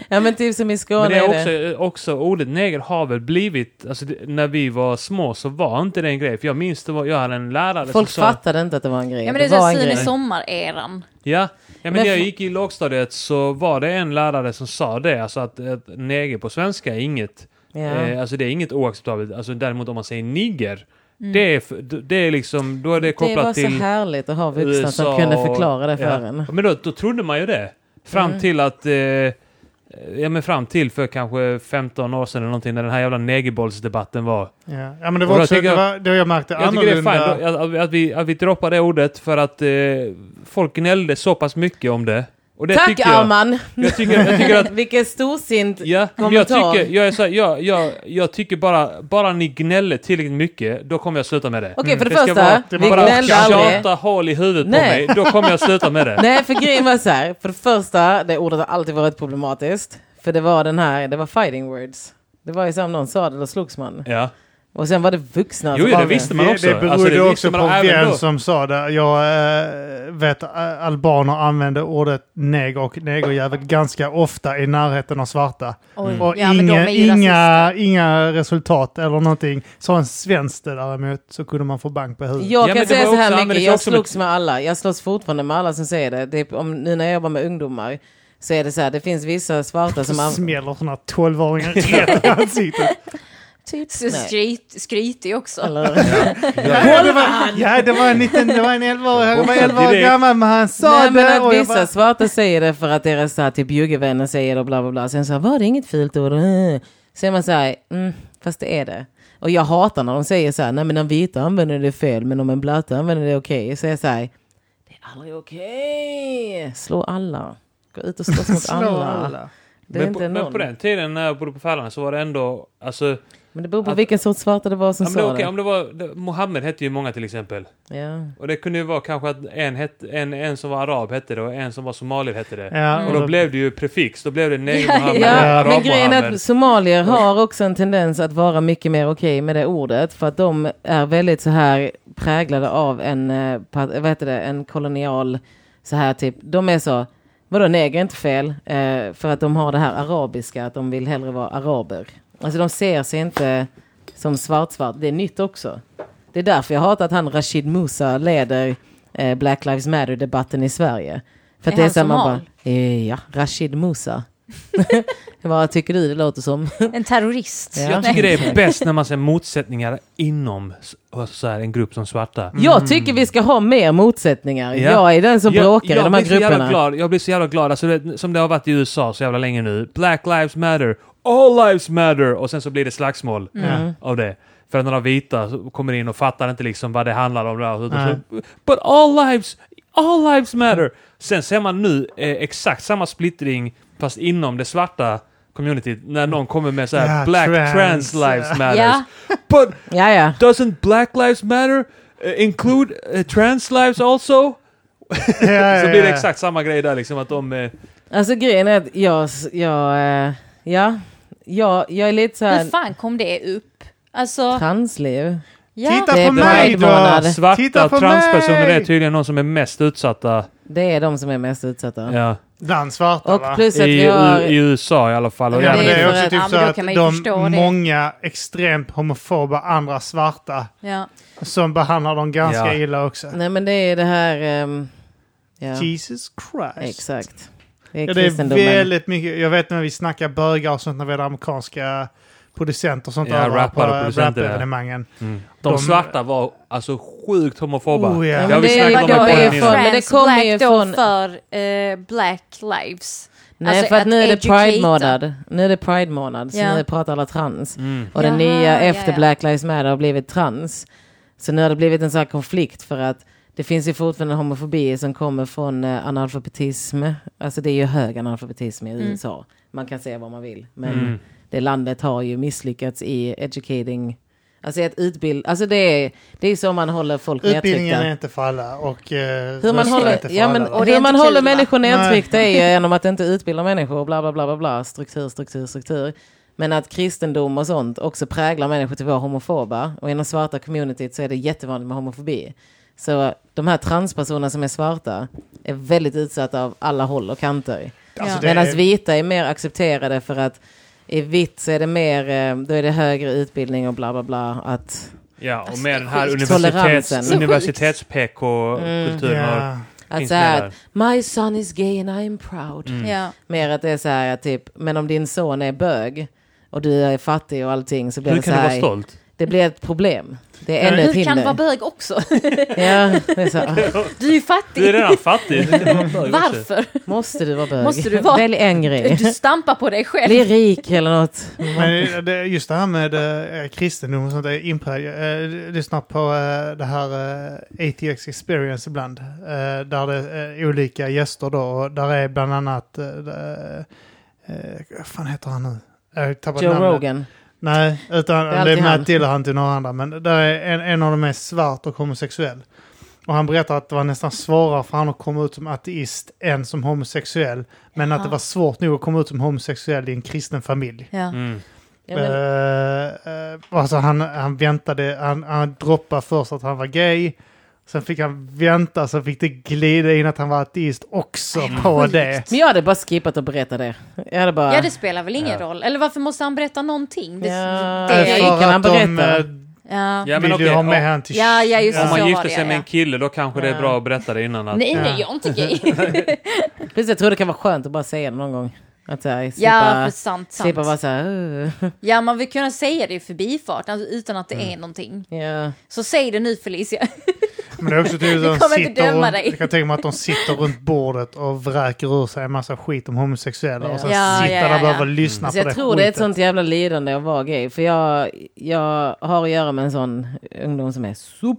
Ja men typ som i Skåne Men det är det. är också, också ordet neger har väl blivit, alltså det, när vi var små så var inte det en grej. För jag minns det var, jag hade en lärare Folk som sa... fattade inte att det var en grej. Ja, men det är var så en Sune grej. Mm. Sommar-eran. Ja, ja men Men när jag fa- gick i lågstadiet så var det en lärare som sa det, alltså att, att neger på svenska är inget, Ja. eh, alltså det är inget oacceptabelt. Alltså däremot om man säger nigger, det, är, f- det är liksom, då är det Mm. Det kopplat var så till... härligt att ha vuxna USA som kunde förklara det för ja. en. Mm. Men då, då trodde man ju det. Fram till att... Eh, ja men fram till för kanske 15 år sedan eller någonting när den här jävla negerbollsdebatten var. Ja, ja men det Och var då också, tycker jag- det var, det jag märkte Jag tycker det är annorlunda. fint då, att, att, vi, att vi droppar det ordet för att eh, folk gnällde så pass mycket om det. Och det Tack tycker jag, Arman! jag tycker, jag tycker att... Vilken storsint Ja, men jag kommentar. tycker, jag, är så här, jag, jag, jag tycker bara, bara ni gnäller tillräckligt mycket, då kommer jag sluta med det. Okej, för det ska första, vara- vi bara gnällde aldrig. tjata hål i huvudet Nej. på mig, då kommer jag sluta med det. Nej, för grejen var så här. För det första, det ordet har alltid varit problematiskt. För det var den här, det var fighting words. Det var ju som någon sa det, då slogs man. Ja. Och sen var det vuxna Jo, som jo, var det med. visste man också. Det, det berodde Alltså, det visste också man på även vem då. som sa det. Jag eh, vet att albaner använde ordet neger och negerjävel ganska ofta i närheten av svarta. Oj. Och Mm. Ja, men de inga, är ju inga, inga resultat eller någonting. Sa en svensk det däremot så kunde man få bank på huvudet. Jag Ja, men kan det säga var så också- här mycket, användes jag också med- slogs med alla. Jag slåss fortfarande med alla som säger det. det är, om, nu när jag jobbar med ungdomar så är det så här, det finns vissa svarta som... Så an- smäller sådana här tolvåringar rätt i ansiktet. Typ. Så skryt, skrytig också. Eller, Ja, det var, ja, det var en liten, det var en 11 han var 11 år Direkt. gammal men han sa Nej, det men att och jag vissa bara, svarta säger det för att deras så här, typ juggevänner säger det och bla bla bla. Sen så här, var det inget fult ord? Mm. Så är man så här, mm, fast det är det. Och jag hatar när de säger så här, nej men den vita använder det fel, men om en blöta använder det okej. Så är jag så här, det är aldrig okej. Slå alla. Gå ut och slåss mot slå alla. alla. Det är men, inte på, någon. men på den tiden när jag bodde på Färlanda så var det ändå, alltså, Men det beror på Att- vilken sorts svarta det var som om det, sa okej, om det var, det, Mohammed hette ju många till exempel. det. Ja. Och det kunde ju vara kanske att en, het, en, en som var arab hette det och en som var somalier hette det. Ja, Och då blev det ju prefix, då blev det nej Ja, Mohammed, Ja, Ja, men grejen är arab-Mohammed. att somalier har också en tendens att vara mycket mer okej med det ordet. För att de är väldigt så här präglade av en, eh, pa- vad heter det, en kolonial, så här typ. De är så, vadå neger är inte fel? Eh, för att de har det här arabiska, att de vill hellre vara araber. Alltså de ser sig inte som svart-svart. Det är nytt också. Det är därför jag hatar att han Rashid Musa leder eh, Black Lives Matter-debatten i Sverige. För att Är det är han så här, man somal? bara, eh, ja, Rashid Musa. Vad tycker du det låter som? Mm. En terrorist. Ja. Jag tycker det är bäst när man ser motsättningar inom s- alltså så här, en grupp som svarta. Jag tycker vi ska ha mer motsättningar. Ja. Jag är den Mm. som Jag- bråkar i de här Jag blir så jävla grupperna. glad, jag blir så jävla glad. Alltså, det, som det har varit i USA så jävla länge nu. Black lives matter, all lives matter! Och sen så blir det slagsmål Mm. Ja. av det. För att några vita så kommer in och fattar inte liksom vad det handlar om. Där. Utan Nej. Så, But all lives, all lives matter! Sen ser man nu eh, exakt samma splittring fast inom det svarta communityt när någon kommer med så här Ja, Black trans, trans. lives matters. Ja. But Ja, ja. doesn't black lives matter eh, include eh, trans lives also? Ja, ja, Så blir det ja. exakt samma grej där liksom att de... Eh, Alltså grejen är att jag, jag, eh, ja, jag, jag är lite så här Hur fan kom det upp? Alltså, transliv. ja. Titta Det är på mig då! Pride-månad. svarta Titta på transpersoner mig! är tydligen de som är mest utsatta Det är de som är mest utsatta. ja, Bland svarta Och va? plus att i, vi har... i USA i alla fall. Och Ja, men även- det för är också att- ja, typ men så då att kan man ju förstå de det. många extremt homofoba andra svarta Ja. som behandlar dem ganska Ja. illa också. Nej men det är det här... ehm, ja, Jesus Christ. exakt. Det är Ja, det är kristendomen. väldigt mycket. Jag vet när vi snackar bögar och sånt när vi hade amerikanska producenter och sånt Ja, över på rappare och producenter, ja. rapevenemangen. de de- svarta var alltså sjukt homofoba. Oh, ja. Det har Ja, men vi det snackat är- om det i var podden ju från- innan. men det Trans kommer black ju då från- för eh, Black Lives. Nej, Alltså, för att att nu är det educata. Pride-månad. Nu är det Pride-månad, så Ja. nu pratar alla trans. Mm. Och den Jaha, nya ja, efter ja. Black Lives Matter har blivit trans. Så nu har det blivit en sån här konflikt för att det finns ju fortfarande homofobi som kommer från eh, analfabetism. Alltså det är ju hög analfabetism Mm. i USA. Man kan säga vad man vill. Men Mm. det landet har ju misslyckats i educating. Alltså att utbilda, alltså det är, det är så man håller folk Utbildningen nedtryckta. är inte för alla och eh, Hur man rösten är håller, inte för ja, men, alla. Och det är hur man inte håller kul, va? människor Nej. nedtryckta är ju genom att inte utbilda människor och bla bla bla bla bla. Struktur, struktur, struktur. Men att kristendom och sånt också präglar människor till att vara homofoba. Och inom svarta communityt så är det jättevanligt med homofobi. Så de här transpersonerna som är svarta är väldigt utsatta av alla håll och kanter. Alltså, Ja. det Medan är- vita är mer accepterade för att i vitt så är det mer, eh, då är det högre utbildning och bla bla bla. Att Ja, och Alltså, med det är den här sjukt. Toleransen. Så universitets, sjukt. universitets-PK-kulturen. Ja. Att Finns så med här, där. my son is gay and I am proud. Mm. Ja. Mer att det är så här att typ, men om din son är bög och du är fattig och allting så blir Hur det så kan du vara här, stolt? det blir ett problem. Det är ännu ett Hur kan du hinder. vara bög också? ja, det är så, här, Du är ju Du är fattig. redan fattig. Du kan vara bög också. Varför? "Ah, måste du vara bög? Måste du vara- Välj en grej. Du stampar på dig själv. Bli rik eller något. Men det, just det här med eh, kristendom och sånt, det är impreg- eh, lyssnar på eh, det här eh, ATX experience ibland. eh, där det är olika gäster då och där är bland annat, eh, eh, vad fan heter han nu? Jag tappade Joe namnet. Rogan. Nej, utan Det är det är, alltid han. Matt Dillahunty och några andra. Men där är en, en av dem är svart och homosexuell. Och han berättar att det var nästan svårare för han att komma ut som ateist än som homosexuell. Men att det Ja. var svårt nog att komma ut som homosexuell i en kristen familj. Ja. Mm. Ja, men, Eh, eh, alltså han, han väntade, han, han droppade först att han var gay. Sen fick han vänta, sen fick det glida in att han var ateist också Mm. på det. men jag hade bara skippat att berätta det. Jag hade bara... ja, det spelar väl ingen Ja. roll. Eller varför måste han berätta någonting? Det, Ja, det är, för- ju- kan han Eh, de berätta? eh, ja. Ja, men vill ju okej, ha om- med han till... Ja, ja, just Om Så man var gifter det, sig med ja. en kille då kanske det är bra att berätta det innan. Att, Nej, Ja. nej, jag är inte gay. Precis, jag tror det kan vara skönt att bara säga det någon gång. Att så här, slippa, Ja, precis, sant, sant. slippa vara så här... "Åh." Ja, man vill kunna säga det i förbifarten alltså, utan att det är någonting. Ja. Så säg det nu Felicia. Men det är också tydligt Vi att de kommer inte sitter döma runt, dig. jag kan tänka mig att de sitter runt bordet och vräker ur sig en massa skit om homosexuella och sen Ja, sitter ja, där ja, och behöver ja. lyssna Så på det Alltså, jag tror det är ett skiten. sånt jävla lidande att vara gay. För jag, jag har att göra med en sån ungdom som är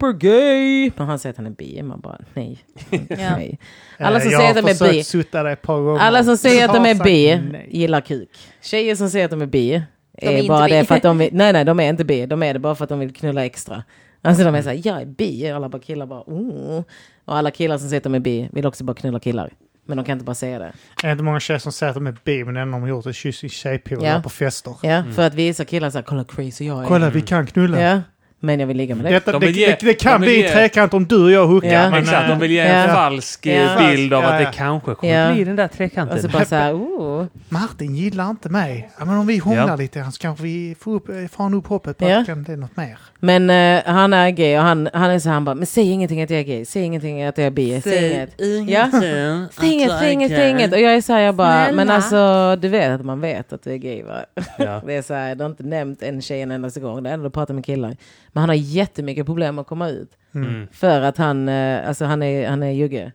supergay. Men han säger att han är bi. Man bara nej. Ja. nej. Alla som Eh, säger att de är Jag har bi. försökt sutta det ett par gånger. Alla som säger att de Jag är har bi sagt nej. gillar kuk. Tjejer som säger att de är bi är är inte bara bi. det för att de vill, nej nej de är inte bi, de är det bara för att de vill knulla extra. Alltså de är såhär, jag är bi, och alla bara killar bara oh. Och alla killar som säger att de är bi vill också bara knulla killar. Men de kan inte bara säga det. Det är inte många tjejer som säger att de är bi, men det enda de har gjort är att kyssa sin tjejpolare Ja. på fester. Ja, för att visa killar såhär, kolla crazy jag är. Mm. Kolla, vi kan knulla. Ja, men jag vill ligga med dig. Detta, De det, vill ge- det, det kan de vill bli ge- en trekant om du och jag hookar. Ja. men, Exakt, eh, de vill ge en Ja. falsk eh, Ja. bild av Ja, att det ja. kanske kommer Ja. bli den där Och så trekanten. bara såhär, oh. Martin gillar inte mig. Ja, men om vi hånglar Ja. lite grann så kanske vi får, upp, eh, får han upp hoppet på Ja. att det kan bli något mer. Men eh, han är gay och han, han är så här, han bara, men säg ingenting att jag är gay, säg ingenting att jag är bi, säg inget. Ja. Säg inget, säg inget, säg inget. Och jag är såhär, jag bara, men Snälla. alltså du vet att man vet att du är gay va? Ja. Det är såhär, du har inte nämnt en tjej en endaste gång, det är ändå att prata med killar. Men han har jättemycket problem att komma ut. Mm. För att han, eh, alltså han är, han är jugge.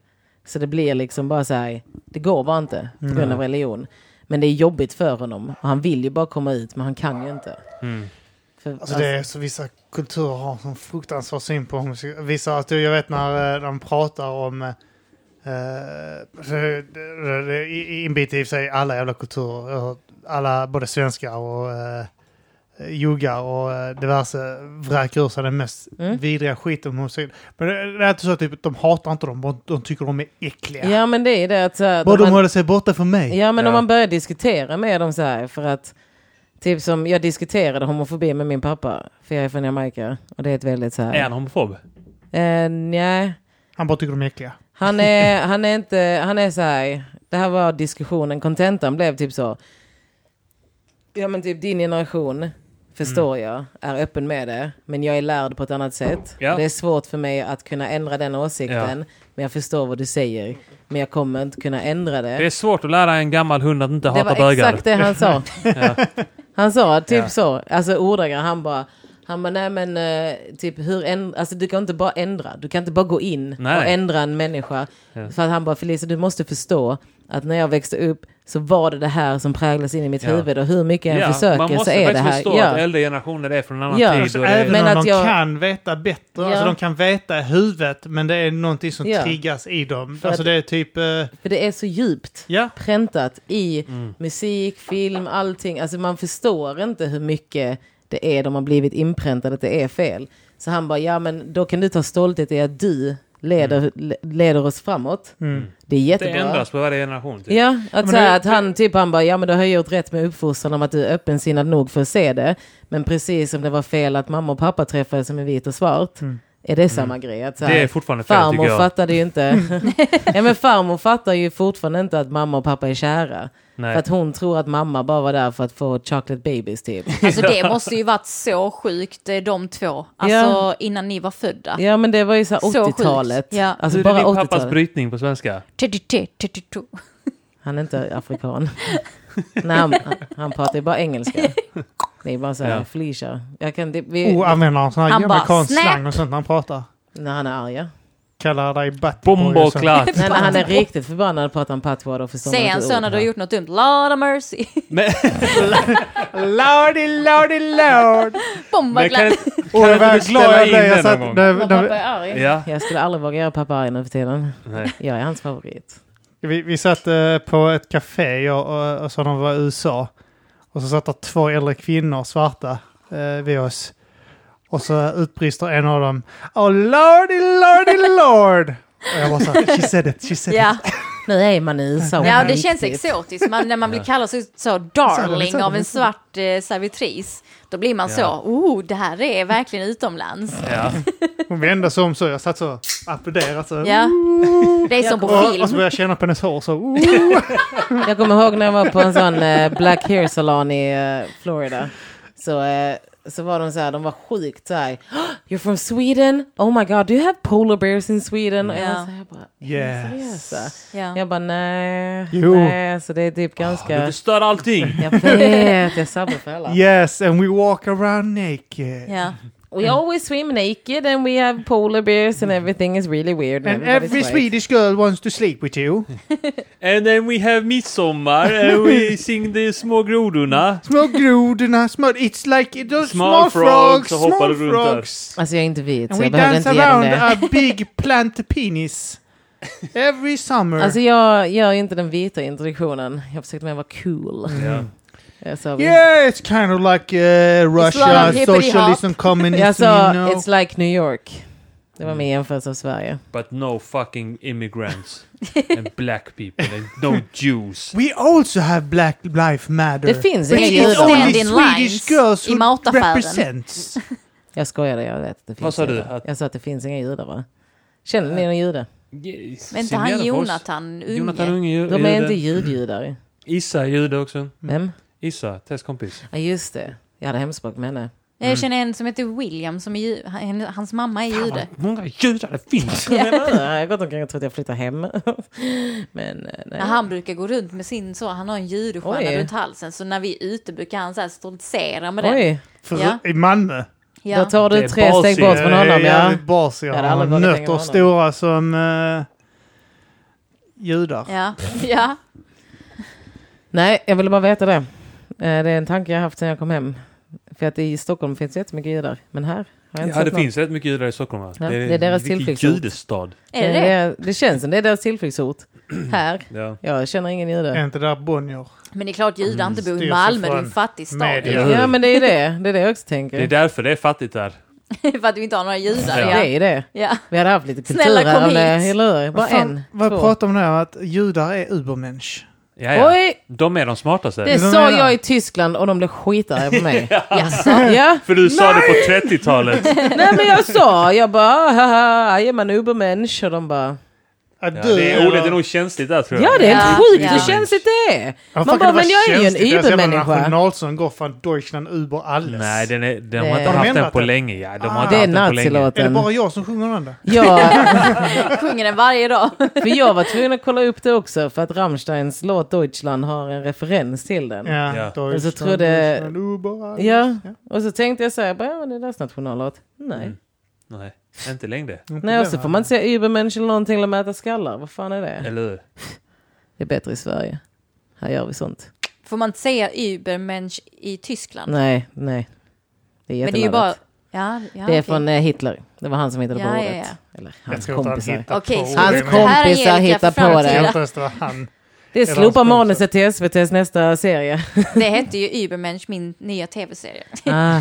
Så det blir liksom bara så här, det går bara inte på grund av religion. Men det är jobbigt för honom. Och han vill ju bara komma ut, men han kan ju inte. Mm. För, Alltså det är så vissa kulturer har en sån fruktansvärd syn på homosexuella. Vissa, att jag vet när eh, de pratar om eh, det- det- det är inbit i sig i alla jävla kulturer. Jag har hört Alla, både svenskar och eh, juggar och eh, diverse vräker ur sig den mest Mm. vidriga skiten om homosexuella. Men det, det är inte så att typ, de hatar inte dem, bara de tycker de är äckliga. alltså, ja men det är det att så här, Bara man- de håller sig borta från mig. Ja, men Ja. om man börjar diskutera med dem så här, för att typ som jag diskuterade homofobi med min pappa, för jag är från Jamaica och det är ett väldigt så här. Är han homofob? Eh, nej, Han bara tycker de är äckliga. han är, han är inte, han är så här, det här var diskussionen, kontentan blev typ så. Ja men typ din generation, förstår Mm. jag, är öppen med det, men jag är lärd på ett annat sätt. Ja. Det är svårt för mig att kunna ändra den åsikten, men jag förstår vad du säger, men jag kommer inte kunna ändra Det är svårt att lära en gammal hund att inte Det hata var bögar. exakt det han sa. Ja. Han sa typ Ja. så, alltså ordagrant, han bara han bara, nej men eh, typ hur änd- alltså du kan inte bara ändra, du kan inte bara gå in och Nej. ändra en människa. För att han bara, Felicia du måste förstå att när jag växte upp så var det det här som präglas in i mitt Ja. huvud och hur mycket jag än Ja, man försöker så måste är det faktiskt här. förstå att Ja. äldre generationer är från en annan Ja. tid. Alltså, och det är- Även Men om att de jag- kan veta bättre, alltså Ja. de kan veta i huvudet, men det är någonting som Ja. triggas i dem. För Alltså att- det är typ, eh, För det är så djupt ja. präntat i musik, film, allting. Alltså man förstår inte hur mycket det är de har blivit inpräntade att det är fel. Så han bara, ja men då kan du ta stolthet i att du leder, le- leder oss framåt. Det är Det jättebra. ändras på varje generation. Typ. Ja, att, men så här, det- att han typ han bara, ja men du har ju gjort rätt med uppfostran om att du är öppensinnad nog för att se det. Men precis som det var fel att mamma och pappa träffades som är vit och svart. Är det samma grej? Att så här, Mm. Det är fortfarande fel tycker farmor jag. fattade ju inte. ja, men farmor fattar ju fortfarande inte att mamma och pappa är kära. Nej. För att hon tror att mamma bara var där för att få chocolate babies typ. Alltså det måste ju varit så sjukt eh, de två. Alltså Ja. innan ni var födda. Ja men det var ju så här Så sjukt. 80-talet. Ja. Alltså Hur är bara din pappas 80-talet. brytning på svenska? Tututu, tututu. Han är inte afrikan. Nej, han, han pratar ju bara engelska. Det är bara så här, Ja. Felicia. Jag kan, det, vi, Oh, använder han sån här Han bara, amerikansk "Snap!" slang och sånt när han pratar? När han är arg, ja. Kallar dig buttboy och Bombo sånt. klart! Nej, men han är riktigt förbannad på att han patchward och förstår Säg inte en ord. så när du har gjort något dumt. Lord of mercy. Men, Lordy, lordy, men lord! kan, Bombaglatt. Åh, kan jag inte var du glad snälla jag in blev. Jag den satt, någon gång? när, när, arg. Ja. Jag skulle aldrig våga göra pappa arg nu för tiden. Nej. Jag är hans favorit. vi, vi satt eh, på ett café, jag och, och så de var i USA. Och så satt där två äldre kvinnor, svarta, eh, vid oss. Och så utbrister en av dem Oh lordy, lordy, lord! Och jag bara så här, she said it, she said it. Ja. Nu är man i USA. ja, det känns typ. exotiskt. Man, när man blir kallad så, så darling av en svart eh, servitris. Då blir man så, Ja. oh, det här är verkligen utomlands. Ja. Hon vände sig om så, jag satt så och applåderade. Så. Ja. Det är som på Och, och så film. började jag känna på hennes hår så. Oh. Jag kommer ihåg när jag var på en sån eh, black hair salon i eh, Florida. Så, eh, så var de så här, de var sjukt så här, "Oh, you're from Sweden, oh my god, do you have polar bears in Sweden? Och jag, Ja. så här, jag bara, Yes. seriösa? Ja. Jag bara nej, Jo. nej, så det är typ ganska... Du förstör allting! jag vet, jag sabbar för alla. Yes, and we walk around naked. Ja. We always swim naked and we have polar bears and everything is really weird. And everybody's every white. Swedish girl wants to sleep with you. And then we have midsommar and we sing de små grodorna. Små grodorna, små... It's like... Small, Small small frogs, frogs, så hoppar small du runt där. frogs. Alltså jag är inte vit And så we jag behöver dance inte ge dem around det. a big plant penis. Every summer. Alltså jag gör ju inte den vita introduktionen. Jag försökte mer vara cool. Ja. Jag sa, yeah, it's kind of like uh, Russia, lot of hippity socialism, communism, jag you sa know. it's like New York. Det var min jämförelse av Sverige. But no fucking immigrants. and black people and no Jews. We also have Black Life Matter. Det finns But it's inga judar. only Stand in Swedish lines girls i who mataffären. represents. Jag skojade, jag vet. Det finns Vad sa du? judar. Att- Jag sa att det finns inga judar va? Känner ni någon jude? Men inte han Jonathan Unge? Jonathan Unge ju- De är jude. inte judjudar. Issa är jude också. Vem? Issa, Tess kompis. Ja just det. Jag hade hemspråk med henne. Jag känner en som heter William, som är ju, han- hans mamma är jude. Många judar det finns! Jag menar, Jag har gått omkring och trott att jag flyttar hem. Men eh, nej. Ja, Han brukar gå runt med sin så, han har en judestjärna Oj. runt halsen. Så när vi är ute brukar han så här stoltsera med den. Oj, För Ja. I Malmö. då Ja. tar Det är du tre steg basigt. bort från honom ja. jävligt basiga. Jag hade aldrig varit längre än Nötter honom. stora som eh, judar. Ja. ja. Nej, jag ville bara veta det. Eh, Det är en tanke jag haft sedan jag kom hem. För att i Stockholm finns det jättemycket judar. Men här har jag inte Ja, det sett någon. finns rätt mycket judar i Stockholm va? Ja, det är deras vilken tillflyktsort. Judestad. Är det det, det? är- Eh, det känns som det är deras tillflyktsort. här. Ja. Jag känner ingen Är jude. inte där Bonnier? Men det är klart judar inte bor i styrs Malmö, det är en ifrån fattig stad. media. Ja, men det är det. Det är det jag också tänker. Det är därför det är fattigt där. För att vi inte har några judar. Ja. Det är Ja. ju det. Ja. Vi hade haft lite kultur Snälla, kom här. eller- hit. Eller hur? Bara Vad fan- en. Vad två. pratar om nu? Att judar är ubermensch. Ja, ja. Oj! De är de smartaste. Det Är de sa redan? jag i Tyskland och de blev skitarga på mig. Jaså? ja. För du sa det på 30-talet. Nej men jag sa, jag bara haha, I am an ubermensch och de bara Att Ja, du det eller- är, ordet är nog känsligt där tror jag. Ja det är Ja, helt sjukt ja. hur känsligt det är. Ja, Man fuck, bara det var men jag är ju en känsligt. Deras jävla übermänniska. nationalsång går från Deutschland über alles. Nej, den är, de Nej. har inte Har de haft den ändrat på den? länge. Ja, de har Ah. inte Det är haft den på länge. Är det nazilåten. bara jag som sjunger den där? Ja, Jag sjunger den varje dag. för jag var tvungen att kolla upp det också för att Rammsteins låt Deutschland har en referens till den. Ja. Ja. Alltså, Deutschland, Och så trodde- Deutschland, über alles. Ja, och så tänkte jag så här, bara, ja, det är deras nationallåt. Nej. Mm. Nej, inte längre. Inte Nej, och den så här. får man inte säga übermensch eller någonting eller mäta skallar. Vad fan är det? Eller hur? Det är bättre i Sverige. Här gör vi sånt. Får man inte säga Übermensch i Tyskland? Nej, nej. Det är Men det är ju bara... jätteladdat. Ja, ja, Det är okej. från eh, Hitler. Det var han som hittade Ja, på ja, ordet. Eller Jag hans tror inte han kompisar. hittar Okej, på så ordet. Hans Jag det här är kompisar Erika hittar för på tror det. inte ens det var han. Det är hans slopa kompisar. manuset till SVTs nästa serie. Det hette ju Übermensch, min nya tv-serie. Ah,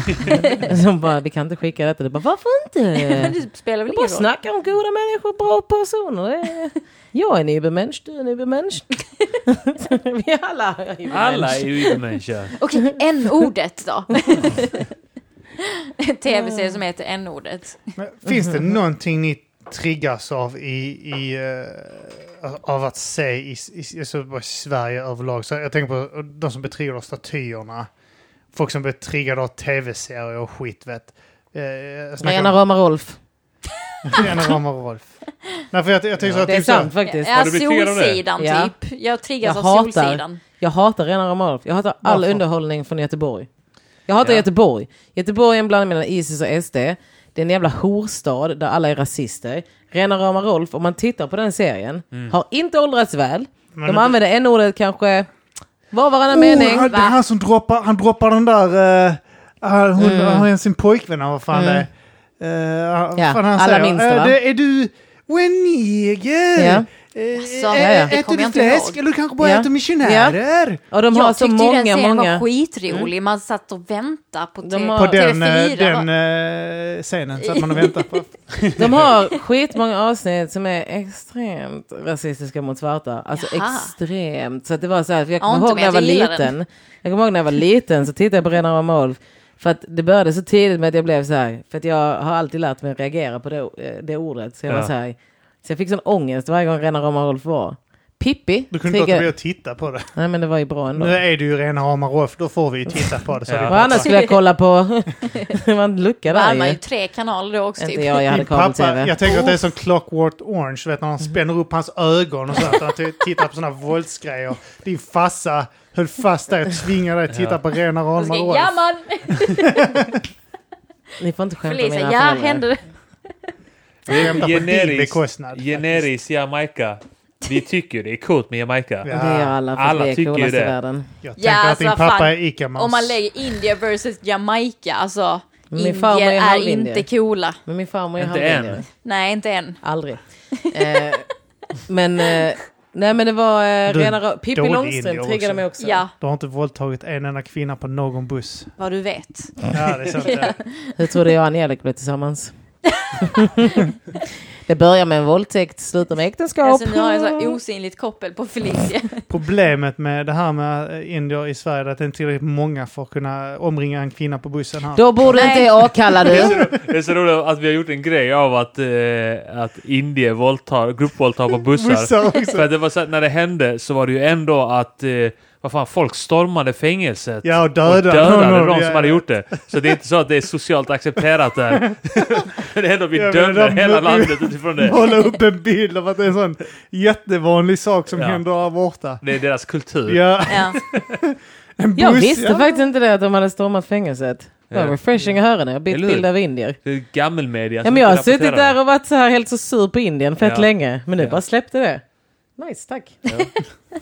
de bara, vi kan inte skicka detta. Du bara, varför Men inte? det spelar väl ingen Eh. Jag bara roll? snackar om goda människor, bra personer. Det är- Jag är en übermensch, du är en übermensch. vi alla är übermensch. Alla är ju människor. Okej, n-ordet då. En tv-serie som heter n-ordet. Men finns det någonting ni triggas av i, i eh, av att se i, i, i, så bara i Sverige överlag? Så jag tänker på de som blir triggade av statyerna. Folk som blir triggade av tv-serier och skit vet. Eh, jag snackar Rena rama Rolf. om Lena Rama och Rolf. Nej, för jag, jag tänker så att Det är typ så här- sant faktiskt. Ja, du blivit triggad av det? Solsidan Ja. typ. Jag triggas Jag av hatar. Solsidan. Jag hatar rena rama Rolf. Jag hatar all Varför? underhållning från Göteborg. Jag hatar Ja. Göteborg. Göteborg är en blandning mellan Isis och SD. Det är en jävla horstad där alla är rasister. Rena rama Rolf, om man tittar på den serien, Mm. har inte åldrats väl. Men De det- använder en ordet kanske var och varannan mening. Oh, han, det är han som droppar, han droppar den där... eh, han, hon, Mm. han är sin pojkvän, eller vad fan det är. Eh, vad Ja, fan han alla säger. minns det, Eh, va? är du... Du är neger! Ja. Eh, Alltså, ä- ja, ja. Det Äter kommer jag du inte fläsk? ihåg. Eller du kanske bara Ja. äter missionärer? Och de har Jag så tyckte ju den många, serien många. Mm. var skitrolig. Man satt och väntade på typ De TV- har- På Ja, den, eh, TV4. va? den eh, scenen satt man och väntade på. De har skitmånga avsnitt som är extremt rasistiska mot svarta. Alltså Jaha. extremt. Så att det var så här, för jag Ja, inte kommer ihåg men när jag var jag gillar liten. Jag kommer ihåg när jag var liten så tittade jag på Renare om Olf. För att det började så tidigt med att jag blev så här. För att jag har alltid lärt mig att reagera på eh, det, det ordet. Så jag Ja. var så här. Så jag fick sån ångest varje gång Renare om Olf var. Pippi Du kunde inte låta bli triggar... att titta på det. Nej men det var ju bra ändå. Nu är det ju rena rama Rolf, då får vi ju titta på det. Så Ja. det är Vad bara annars så. skulle jag kolla på? det var en lucka Då där hade man ju ju. tre kanaler då också Inte typ. jag, jag hade Min pappa, kabel-tv. jag tänker att det är som Clockwork Orange, vet, när han spänner upp hans ögon och så att han t- tittar på sådana våldsgrejer. Din farsa höll fast dig och tvingade dig att titta Ja. på rena Och rama så Rolf. ja man! Ni får inte skämta om Felicia, mina ja föräldrar. händer det? Skämtar på din Generis, bekostnad. generis Jamaica. Vi tycker det är coolt med Jamaica. Ja. Och Det gör alla, för Alla det är tycker ju coolast i det. världen. Jag tänker Ja, att alltså, din vad pappa fan. är Ica-mans. Om man lägger India versus Jamaica, alltså. Min farmor Indier är är halvindier. inte coola. Men min farmor är Inte halvindier. än. Nej, inte än. Aldrig. eh, men, eh, nej men det var eh, Du är rena rö- Pippi dålig Långstrump indier triggade också. mig också. Ja, Du har inte våldtagit en enda kvinna på någon buss. vad du vet. Ja, det är sant. det. Hur trodde jag och Angelica blev tillsammans? det börjar med en våldtäkt, slutar med äktenskap. Alltså, nu har jag så här osynligt koppel på Felicia. Problemet med det här med eh, indier i Sverige är att det inte är tillräckligt många för att kunna omringa en kvinna på bussen här. Då borde du inte Nej. är avkalla du. Det är så roligt att vi har gjort en grej av att, eh, att indier våldtar, gruppvåldtar på bussar. Bussar också. För att det var så att när det hände så var det ju ändå att eh, vad fan, folk stormade fängelset. Ja, och Och döda. dödade de som hade gjort det. Så det är inte så att det är socialt accepterat där. det är ändå vi Ja, men dömer de- hela landet utifrån det. Hålla upp en bild av att det är en sån jättevanlig sak som Ja. händer där borta. Det är deras kultur. Ja, Ja. en buss. Jag visste ja. faktiskt inte det att de hade stormat fängelset. Det var Ja. refreshing att höra när jag bytt Eller hur? bild av indier. Det är gammelmedia Ja, som men jag har inte suttit rapporterar där och varit så här helt så sur på Indien fett Ja. länge. Men nu Ja. bara släppte det. Nice, tack. Ja.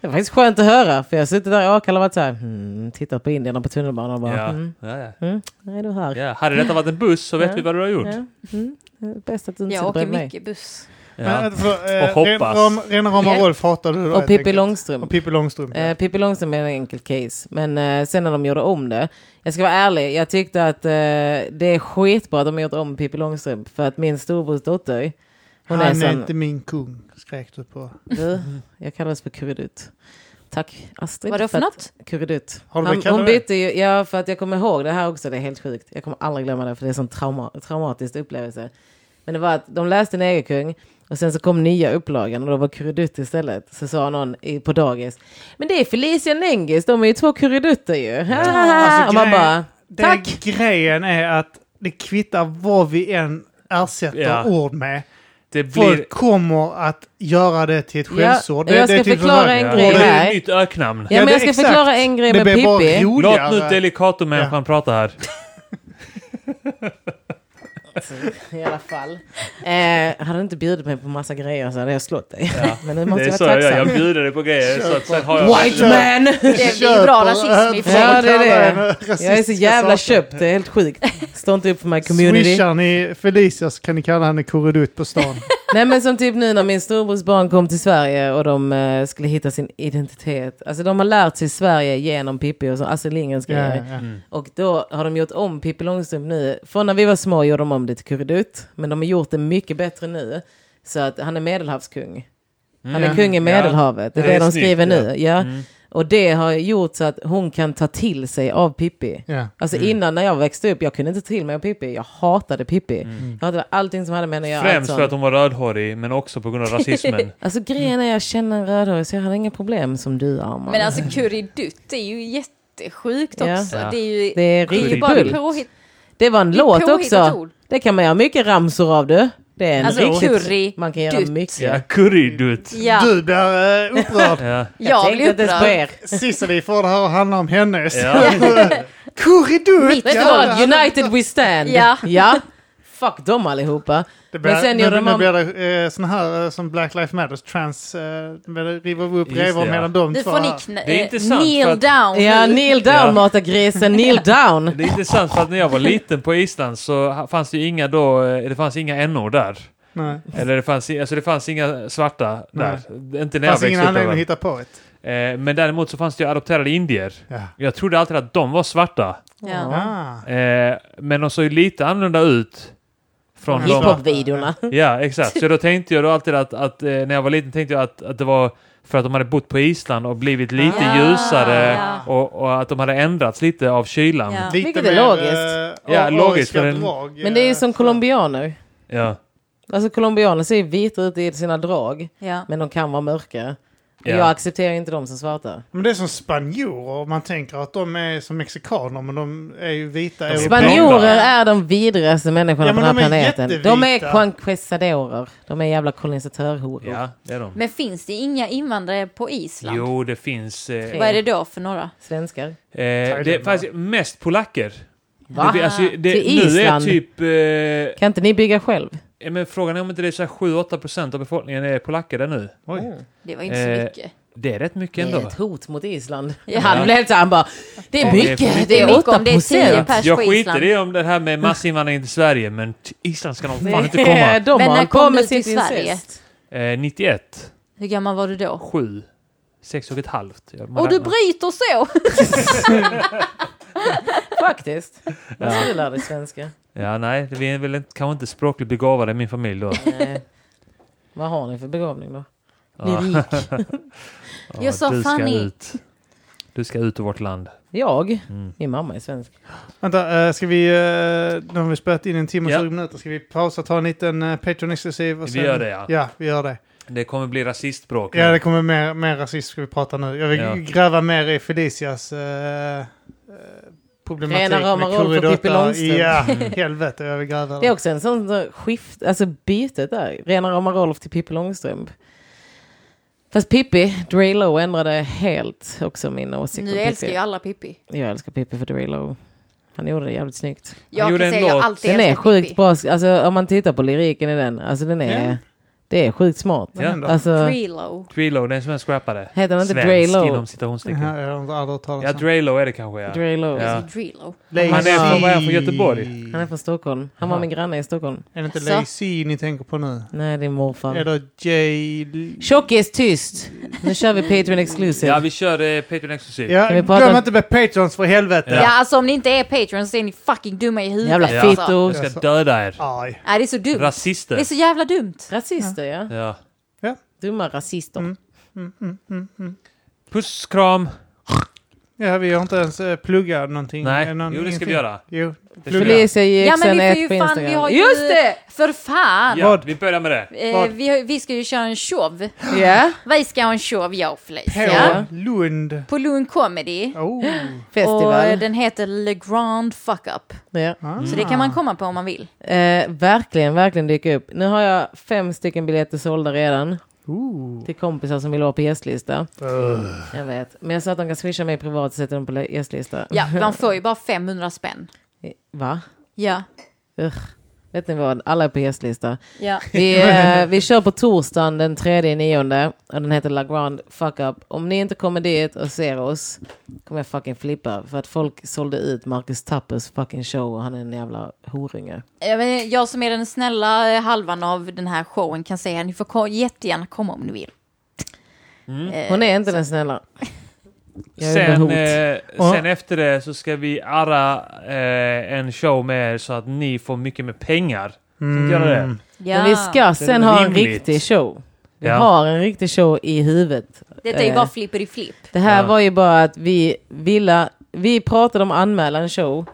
Det var faktiskt skönt att höra. För jag har suttit där i Akalla och varit så här. Hmm, tittat på Indien och på tunnelbanan och bara. Ja. Mm, Ja, ja. nej, du är här. Ja. Hade detta varit en buss så vet Ja. vi vad du har gjort. Ja. Mm, det är bäst att du inte Jag sitter åker bredvid mig. mycket buss. Ja. Men, för, eh, Och hoppas. Ren- Ram- Rena rama Ja. Rolf hatar du då, Och helt Pippi enkelt. Långstrump. Och Pippi Långstrump. ja. Eh, Pippi Långstrump är en enkel case. Men eh, sen när de gjorde om det. Jag ska vara ärlig. Jag tyckte att eh, det är skitbra att de har gjort om Pippi Långstrump. För att min storbrors dotter. Hon Han är, är, sån, inte min kung, skrek du på. Du, jag kallades för kurredut. Tack Astrid. Vadå för att- något? Kurredut. Har du Han- blivit kallad Hon det? bytte ju, ja för att jag kommer ihåg det här också, det är helt sjukt. Jag kommer aldrig glömma det för det är en sån trauma, traumatisk upplevelse. Men det var att de läste Negerkung och sen så kom nya upplagan och då var kurredut istället. Så sa någon i, på dagis, men det är Felicia Nengis, de är ju två kurredutter ju. Alltså, och man grejen- bara, Det tack! Grejen är att det kvittar vad vi än ersätter Ja. ord med. Det blir... Folk kommer att göra det till ett Ja, skällsord. jag det, ska det är typ förklara sådär- en Ja. grej Och det är här. ett nytt öknamn. Ja, Ja, men det- jag ska exakt. förklara en grej Det med blir bara Pippi. Låt nu roligare. Delicato-människan prata här. i alla fall. Eh, hade du inte bjudit mig på massa grejer så hade jag slått dig. Ja. Men nu Det måste är jag så vara jag tacksam. gör. Jag bjuder dig på grejer. Så att sen har jag... White man! Det är ju bra rasism i och för sig. Ja, det är det. Rasistiska Jag är så jävla saker. köpt, det är helt sjukt. Står inte upp för my community. Swishar ni Felicia så kan ni kalla henne korridut på stan. Nej men som typ nu när min storbrors barn kom till Sverige och de eh, skulle hitta sin identitet. Alltså de har lärt sig Sverige genom Pippi och så, Astrid Lindgrens Ja, grejer. ja. Mm. Och då har de gjort om Pippi Långstrump nu. Från när vi var små gjorde de om det till Kurredut. Men de har gjort det mycket bättre nu. Så att han är medelhavskung. Han är kung i Medelhavet. Det är Det det, är de snyggt, skriver ja. nu. Ja. Och det har gjort så att hon kan ta till sig av Pippi. Ja. Alltså Mm. innan när jag växte upp, jag kunde inte ta till mig av Pippi. Jag hatade Pippi. Jag hatade allting som hade med henne att göra. allt Mm. Främst sånt. för att hon var rödhårig, men också på grund av rasismen. Alltså grejen är jag känner en rödhårig så jag hade inga problem som du Arman. Men alltså currydutt är ju jättesjukt Ja. också. Ja. Det är ju, det är det är ju riktigt bara bull. påhitt, Det var en låt påhittat också. ord. Det kan man göra mycket ramsor av du. Det är en Alltså, riktigt... curry, man kan göra dutt. mycket. ja, currydutt. Ja, Du blir eh, upprörd. Ja. Jag, jag blir tänkte inte ens på upprörd. er. Cicely får det här att handla om hennes. Ja. Korridut! Vet du vad? United we stand. Ja. Fuck dem allihopa. Det blir, Men sen nu, gjorde nu de blir om... det eh, sån här eh, som Black Lives Matters, trans, eh, men det river vi upp Just det, revor ja. mellan de Nu två. får ni här. kn- Det är eh, intressant för kneel att- down. Ja, kneel down Ja. mata grisen, kneel down. Det är intressant för att när jag var liten på Island så ha- fanns det ju inga då, eh, det fanns inga n-ord där. Nej. Eller det fanns, i- alltså det fanns inga svarta där. Inte när Det jag fanns ingen växte upp. i anledning att alla hitta på ett. fall. Eh, Men däremot så fanns det ju adopterade indier. Ja. Jag trodde alltid att de var svarta. Ja. Ah. Eh, men de såg ju lite annorlunda ut. Från Mm. de, Hiphop-videorna. ja, exakt. Så då tänkte jag då alltid att, att eh, när jag var liten tänkte jag att, att det var för att de hade bott på Island och blivit lite Ah, ljusare ja. och, och att de hade ändrats lite av kylan. Ja. Vilket är logiskt. eh, Ja, ariska logiskt, men- drag, Men det är ju eh, som colombianer. Ja. Alltså colombianer ser vita ut i sina drag, Ja. men de kan vara mörka. Ja. Jag accepterar inte dem som svarta. Men det är som spanjorer, man tänker att de är som mexikaner men de är ju vita De är Spanjorer blonda. är de vidrigaste människorna Ja, på men den här de är planeten. jättevita. De är conquistadorer. De är jävla kolonisatörhoror. Ja, det är de. Men finns det inga invandrare på Island? Jo, det finns... Eh, Vad är det då för några? Svenskar. Eh, det är faktiskt mest polacker. Va? Det, alltså, det, Till nu är Island? typ... Eh, Kan inte ni bygga själv? ja, men frågan är om inte det är så här 7-8% av befolkningen är polacker där nu. Oj. Det var inte så Eh, mycket. Det är rätt mycket Det är ändå. ett hot mot Island. Ja. Han blev helt såhär, han bara, det är Ja, det är mycket, mycket. det är mycket om 8 det är 10 procent. pers Jag på skiter Island. i om det här med massinvandringen till Sverige, men till Island ska de fan inte komma. De Men har när hållit på kom du med till sitt Sverige? incest. Eh, 91, Hur gammal var du då? 7, 6 och ett halvt. Ja, man Och du räknar. bryter så! Faktiskt. Vad ska du lära dig svenska? Ja, nej, vi är väl inte, kanske inte språkligt begåvade i min familj då. Nej. Eh, Vad har ni för begåvning då? Bli Ja. rik. Ja, Jag sa du ska Fanny. ut. Du ska ut ur vårt land. Jag? Mm. Min mamma är svensk. Vänta, eh, ska vi, eh, nu har vi spelat in en timme och Ja. 20 minuter, ska vi pausa ta en liten eh, Patreon-exklusiv? och Vi sen- gör det, ja. Ja, vi gör det. Det kommer bli rasistbråk. nu. Ja, det kommer mer, mer rasism ska vi prata nu. Jag vill Ja. gräva mer i Felicias eh, eh, problematik Rena rama med roll för Kurre Pippi Långstrump. Mm. Ja, helvete, jag vill gräva Det är där. också en sån där skift, alltså bytet där. Rena rama Rolf till Pippi Långstrump. Fast Pippi, Drilo ändrade helt också min åsikt om Nu Pippi. älskar ju alla Pippi. Jag älskar Pippi för Drilo. Han gjorde det jävligt snyggt. Han Jag gjorde kan en säga jag låt. alltid Den är älskat sjukt Pippi. bra, alltså om man tittar på lyriken i den, alltså den är, Ja. det är sjukt smart. Vad händer? Alltså, Trilo. Drelo, den som är scrappade. heter han inte Svensk Drelo? inom citationstecken. Ja, jag har aldrig hört Ja, talas om. Drelo är det kanske ja. Drelo. Ja. Alltså Drilo. Lazy. Han är från- vad är han, från Göteborg? Han är från Stockholm. Han var Aha. min granne i Stockholm. Är det inte Så. Lazy ni tänker på nu? Nej, det är morfar. Eller Jay... Tjockis, tyst! Nu kör vi Patreon exclusive. Ja, vi kör eh, Patreon exklusivt. Ja, Kan vi prata- glöm inte med Patrons för helvete! Ja. alltså om ni inte är Patreons så är ni fucking dumma i huvudet. Jävla Ja. fittor. Alltså. Jag ska döda er. Aj. Nej, det är så dumt. Rasister. Det är så jävla dumt. Rasister, ja. Ja. Dumma rasister. Mm. Mm, mm, mm, mm. Puss, kram. Ja, vi har inte ens eh, pluggat någonting. Eh, Nej, någon- jo det ska ingenting. vi göra. Jo. Det ska vi göra. Felicia ger Ja också men vi en får ett på ju fan, vi har Instagram. ju... Just det! För fan! Ja, vi börjar med det. Eh, Vad? vi, har- vi ska ju köra en show. Ja. Vi ska ha en show jag och På Felicia. Lund. På Lund Comedy. Oh. Och eh, Festival. den heter Le Grand Fuck Up. Ja. Ah. Så det kan man komma på om man vill. Eh, verkligen, verkligen dyka upp. Nu har jag fem stycken biljetter sålda redan Ooh. till kompisar som vill vara på gästlista. Ugh. Jag vet. Men jag sa att de kan swisha mig privat och sätta dem på le- gästlista. Ja, man får ju bara 500 spänn. Va? Ja. Ugh. Vet ni vad? Alla är på gästlista. Ja. Vi, eh, vi kör på torsdagen den 3 nionde och den heter La Grande Fuck Up. Om ni inte kommer dit och ser oss kommer jag fucking flippa för att folk sålde ut Marcus Tappers fucking show och han är en jävla horunge. Ja, men Jag som är den snälla eh, halvan av den här showen kan säga att ni får ko- jättegärna komma om ni vill. Hon är inte den snälla. Jag är ett Sen, hot. eh, Ja. sen efter det så ska vi arra eh, en show med er så att ni får mycket mer pengar. Mm. göra det. Ja. Men vi ska sen ha en rimligt. riktig show. Vi Ja. har en riktig show i huvudet. Detta är ju Eh. bara flipper i flipp. Det här Ja. var ju bara att vi ville, vi pratade om anmälan show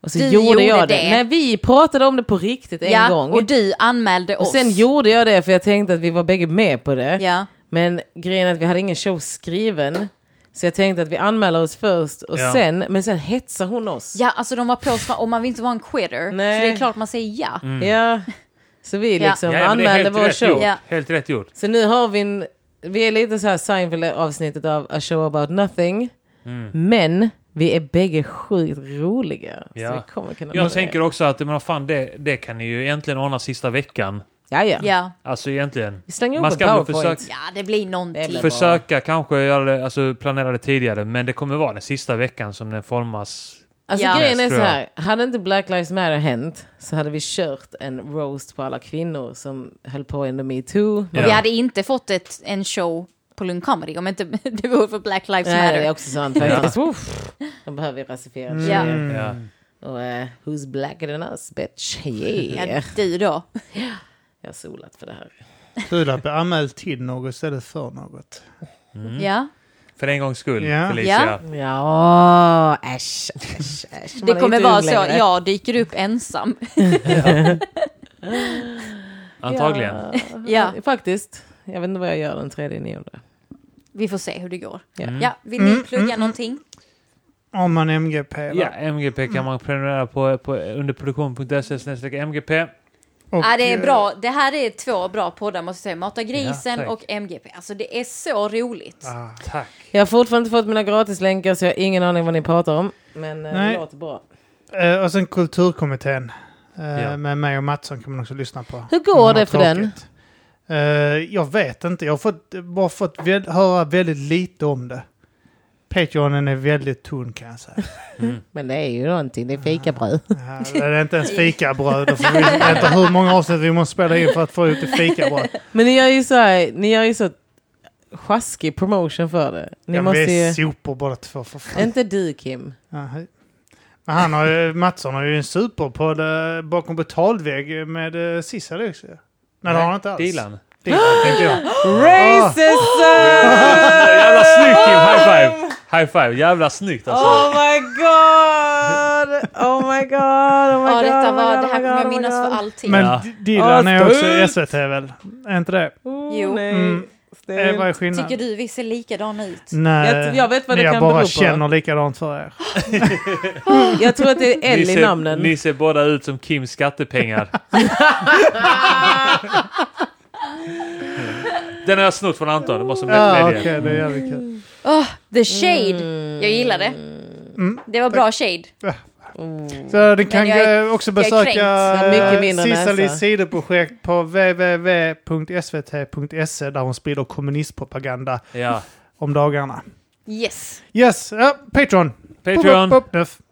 och så Du gjorde, gjorde jag det. det. Nej, vi pratade om det på riktigt en Ja, gång. och du anmälde Och oss. sen gjorde jag det för jag tänkte att vi var bägge med på det. Ja. Men grejen är att vi hade ingen show skriven. Så jag tänkte att vi anmäler oss först och Ja. sen, men sen hetsar hon oss. Ja, alltså de var på oss, och man vill inte vara en quitter. Nej. Mm. Så det är klart man säger ja. Ja. Så vi Ja. liksom Mm. men det är anmälde helt vår rätt show. gjort. Ja. Helt rätt gjort. Så nu har vi en, vi är lite så här Seinfeld-avsnittet av A Show About Nothing. Mm. Men vi är bägge sjukt roliga. Ja. Så vi kommer kunna nå Jag det. tänker också att men vad fan, det, det kan ni ju egentligen ordna sista veckan. Ja, ja. Ja, Alltså egentligen. Vi slänger Man ihop ska en väl powerpoint. försöka- ja det blir Det någonting. blir bra. Försöka kanske göra det, alltså planera det tidigare, men det kommer vara den sista veckan som den formas. Alltså Ja. grejen är Yes, så tror jag. här. Hade inte Black Lives Matter hänt så hade vi kört en roast på alla kvinnor som höll på under metoo. Ja. Vi hade inte fått ett, en show på Lund Comedy om inte det vore för Black Lives Nej, Matter. det är också sant faktiskt. Uff. De behöver ju rasifiera Ja. Mm. tjejer. Ja. Och eh, who's blacker than us bitch? Ja, Yeah. du då? Jag har solat för det här. Kul att bli anmäld till något istället för något. Mm. Ja. Mm. För en gångs skull, Ja. Felicia. Ja, äsch, äsch, äsch. Man Det är kommer inte vara ung så, längre. jag dyker upp ensam. Antagligen. Ja. Ja. Faktiskt. Jag vet inte vad jag gör den 3 nionde. Vi får se hur det går. Ja. Mm. Ja, vill ni Mm, plugga mm, någonting? Om man MGP. va? Ja, MGP Mm. kan man prenumerera på, på underproduktion.se E snedstreck MGP. Och, Ja, det är eh, bra. Det här är två bra poddar måste jag säga. Mata grisen Ja, tack. och MGP. Alltså det är så roligt. Ah, Tack. Jag har fortfarande inte fått mina gratislänkar så jag har ingen aning vad ni pratar om. Men eh, det Nej. låter bra. eh, och sen Kulturkommittén. eh, Ja. Med mig och Mattsson kan man också lyssna på. Hur går Om man det har för den? tråkigt. Eh, jag vet inte. Jag har fått, bara fått väl, höra väldigt lite om det. Patreonen är väldigt tunn kan jag säga. Men det är ju någonting, det är fikabröd. Ja, Det är inte ens fikabröd. Då får vi vänta hur många avsnitt vi måste spela in för att få ut ett fikabröd. Men ni gör ju så här, ni gör ju så sjaskig promotion för det. Ni Ja, men måste Vi är ju... sopor båda två för fan. Inte du Kim. Ja, hej. Men han har ju, Mattsson har ju en superpodd eh, bakom betalvägg med eh, Sissel också. Nej, det har han inte alls. Dilan. Dilan, tänkte jag. Ah. Racism! Jävla snyggt Kim! High five! High five! Jävla snyggt alltså. Oh my god! Oh my god! Oh my Ja, god! detta oh my var, det god, oh här my kommer jag god, oh my minnas för god. alltid. Men Ja. D- Dilan är också Astut! SVT väl? Är inte det? Oh, Jo. Nej. Mm. Eh, Vad Sten. är skillnaden? Tycker du vi ser likadana ut? Nej, Jag- jag vet vad ni det jag kan bara bero på. känner likadant för er. Jag tror att det är Ni L i ser, namnen. ni ser båda ut som Kims skattepengar. Den har jag snott från Anton, det måste jag Ja, medge. Ah, okej, det är jävligt kul. Oh, the shade! Jag gillar det. Mm. Det var bra shade. Så ni kan jag är- eh, också jag är kränkt. besöka har mycket mindre näsa. Cissalis sidoprojekt på www.svt.se E där hon sprider kommunistpropaganda Ja. om dagarna. Yes. Yes, ja, Patreon. Patreon. Upp, upp, upp, nu.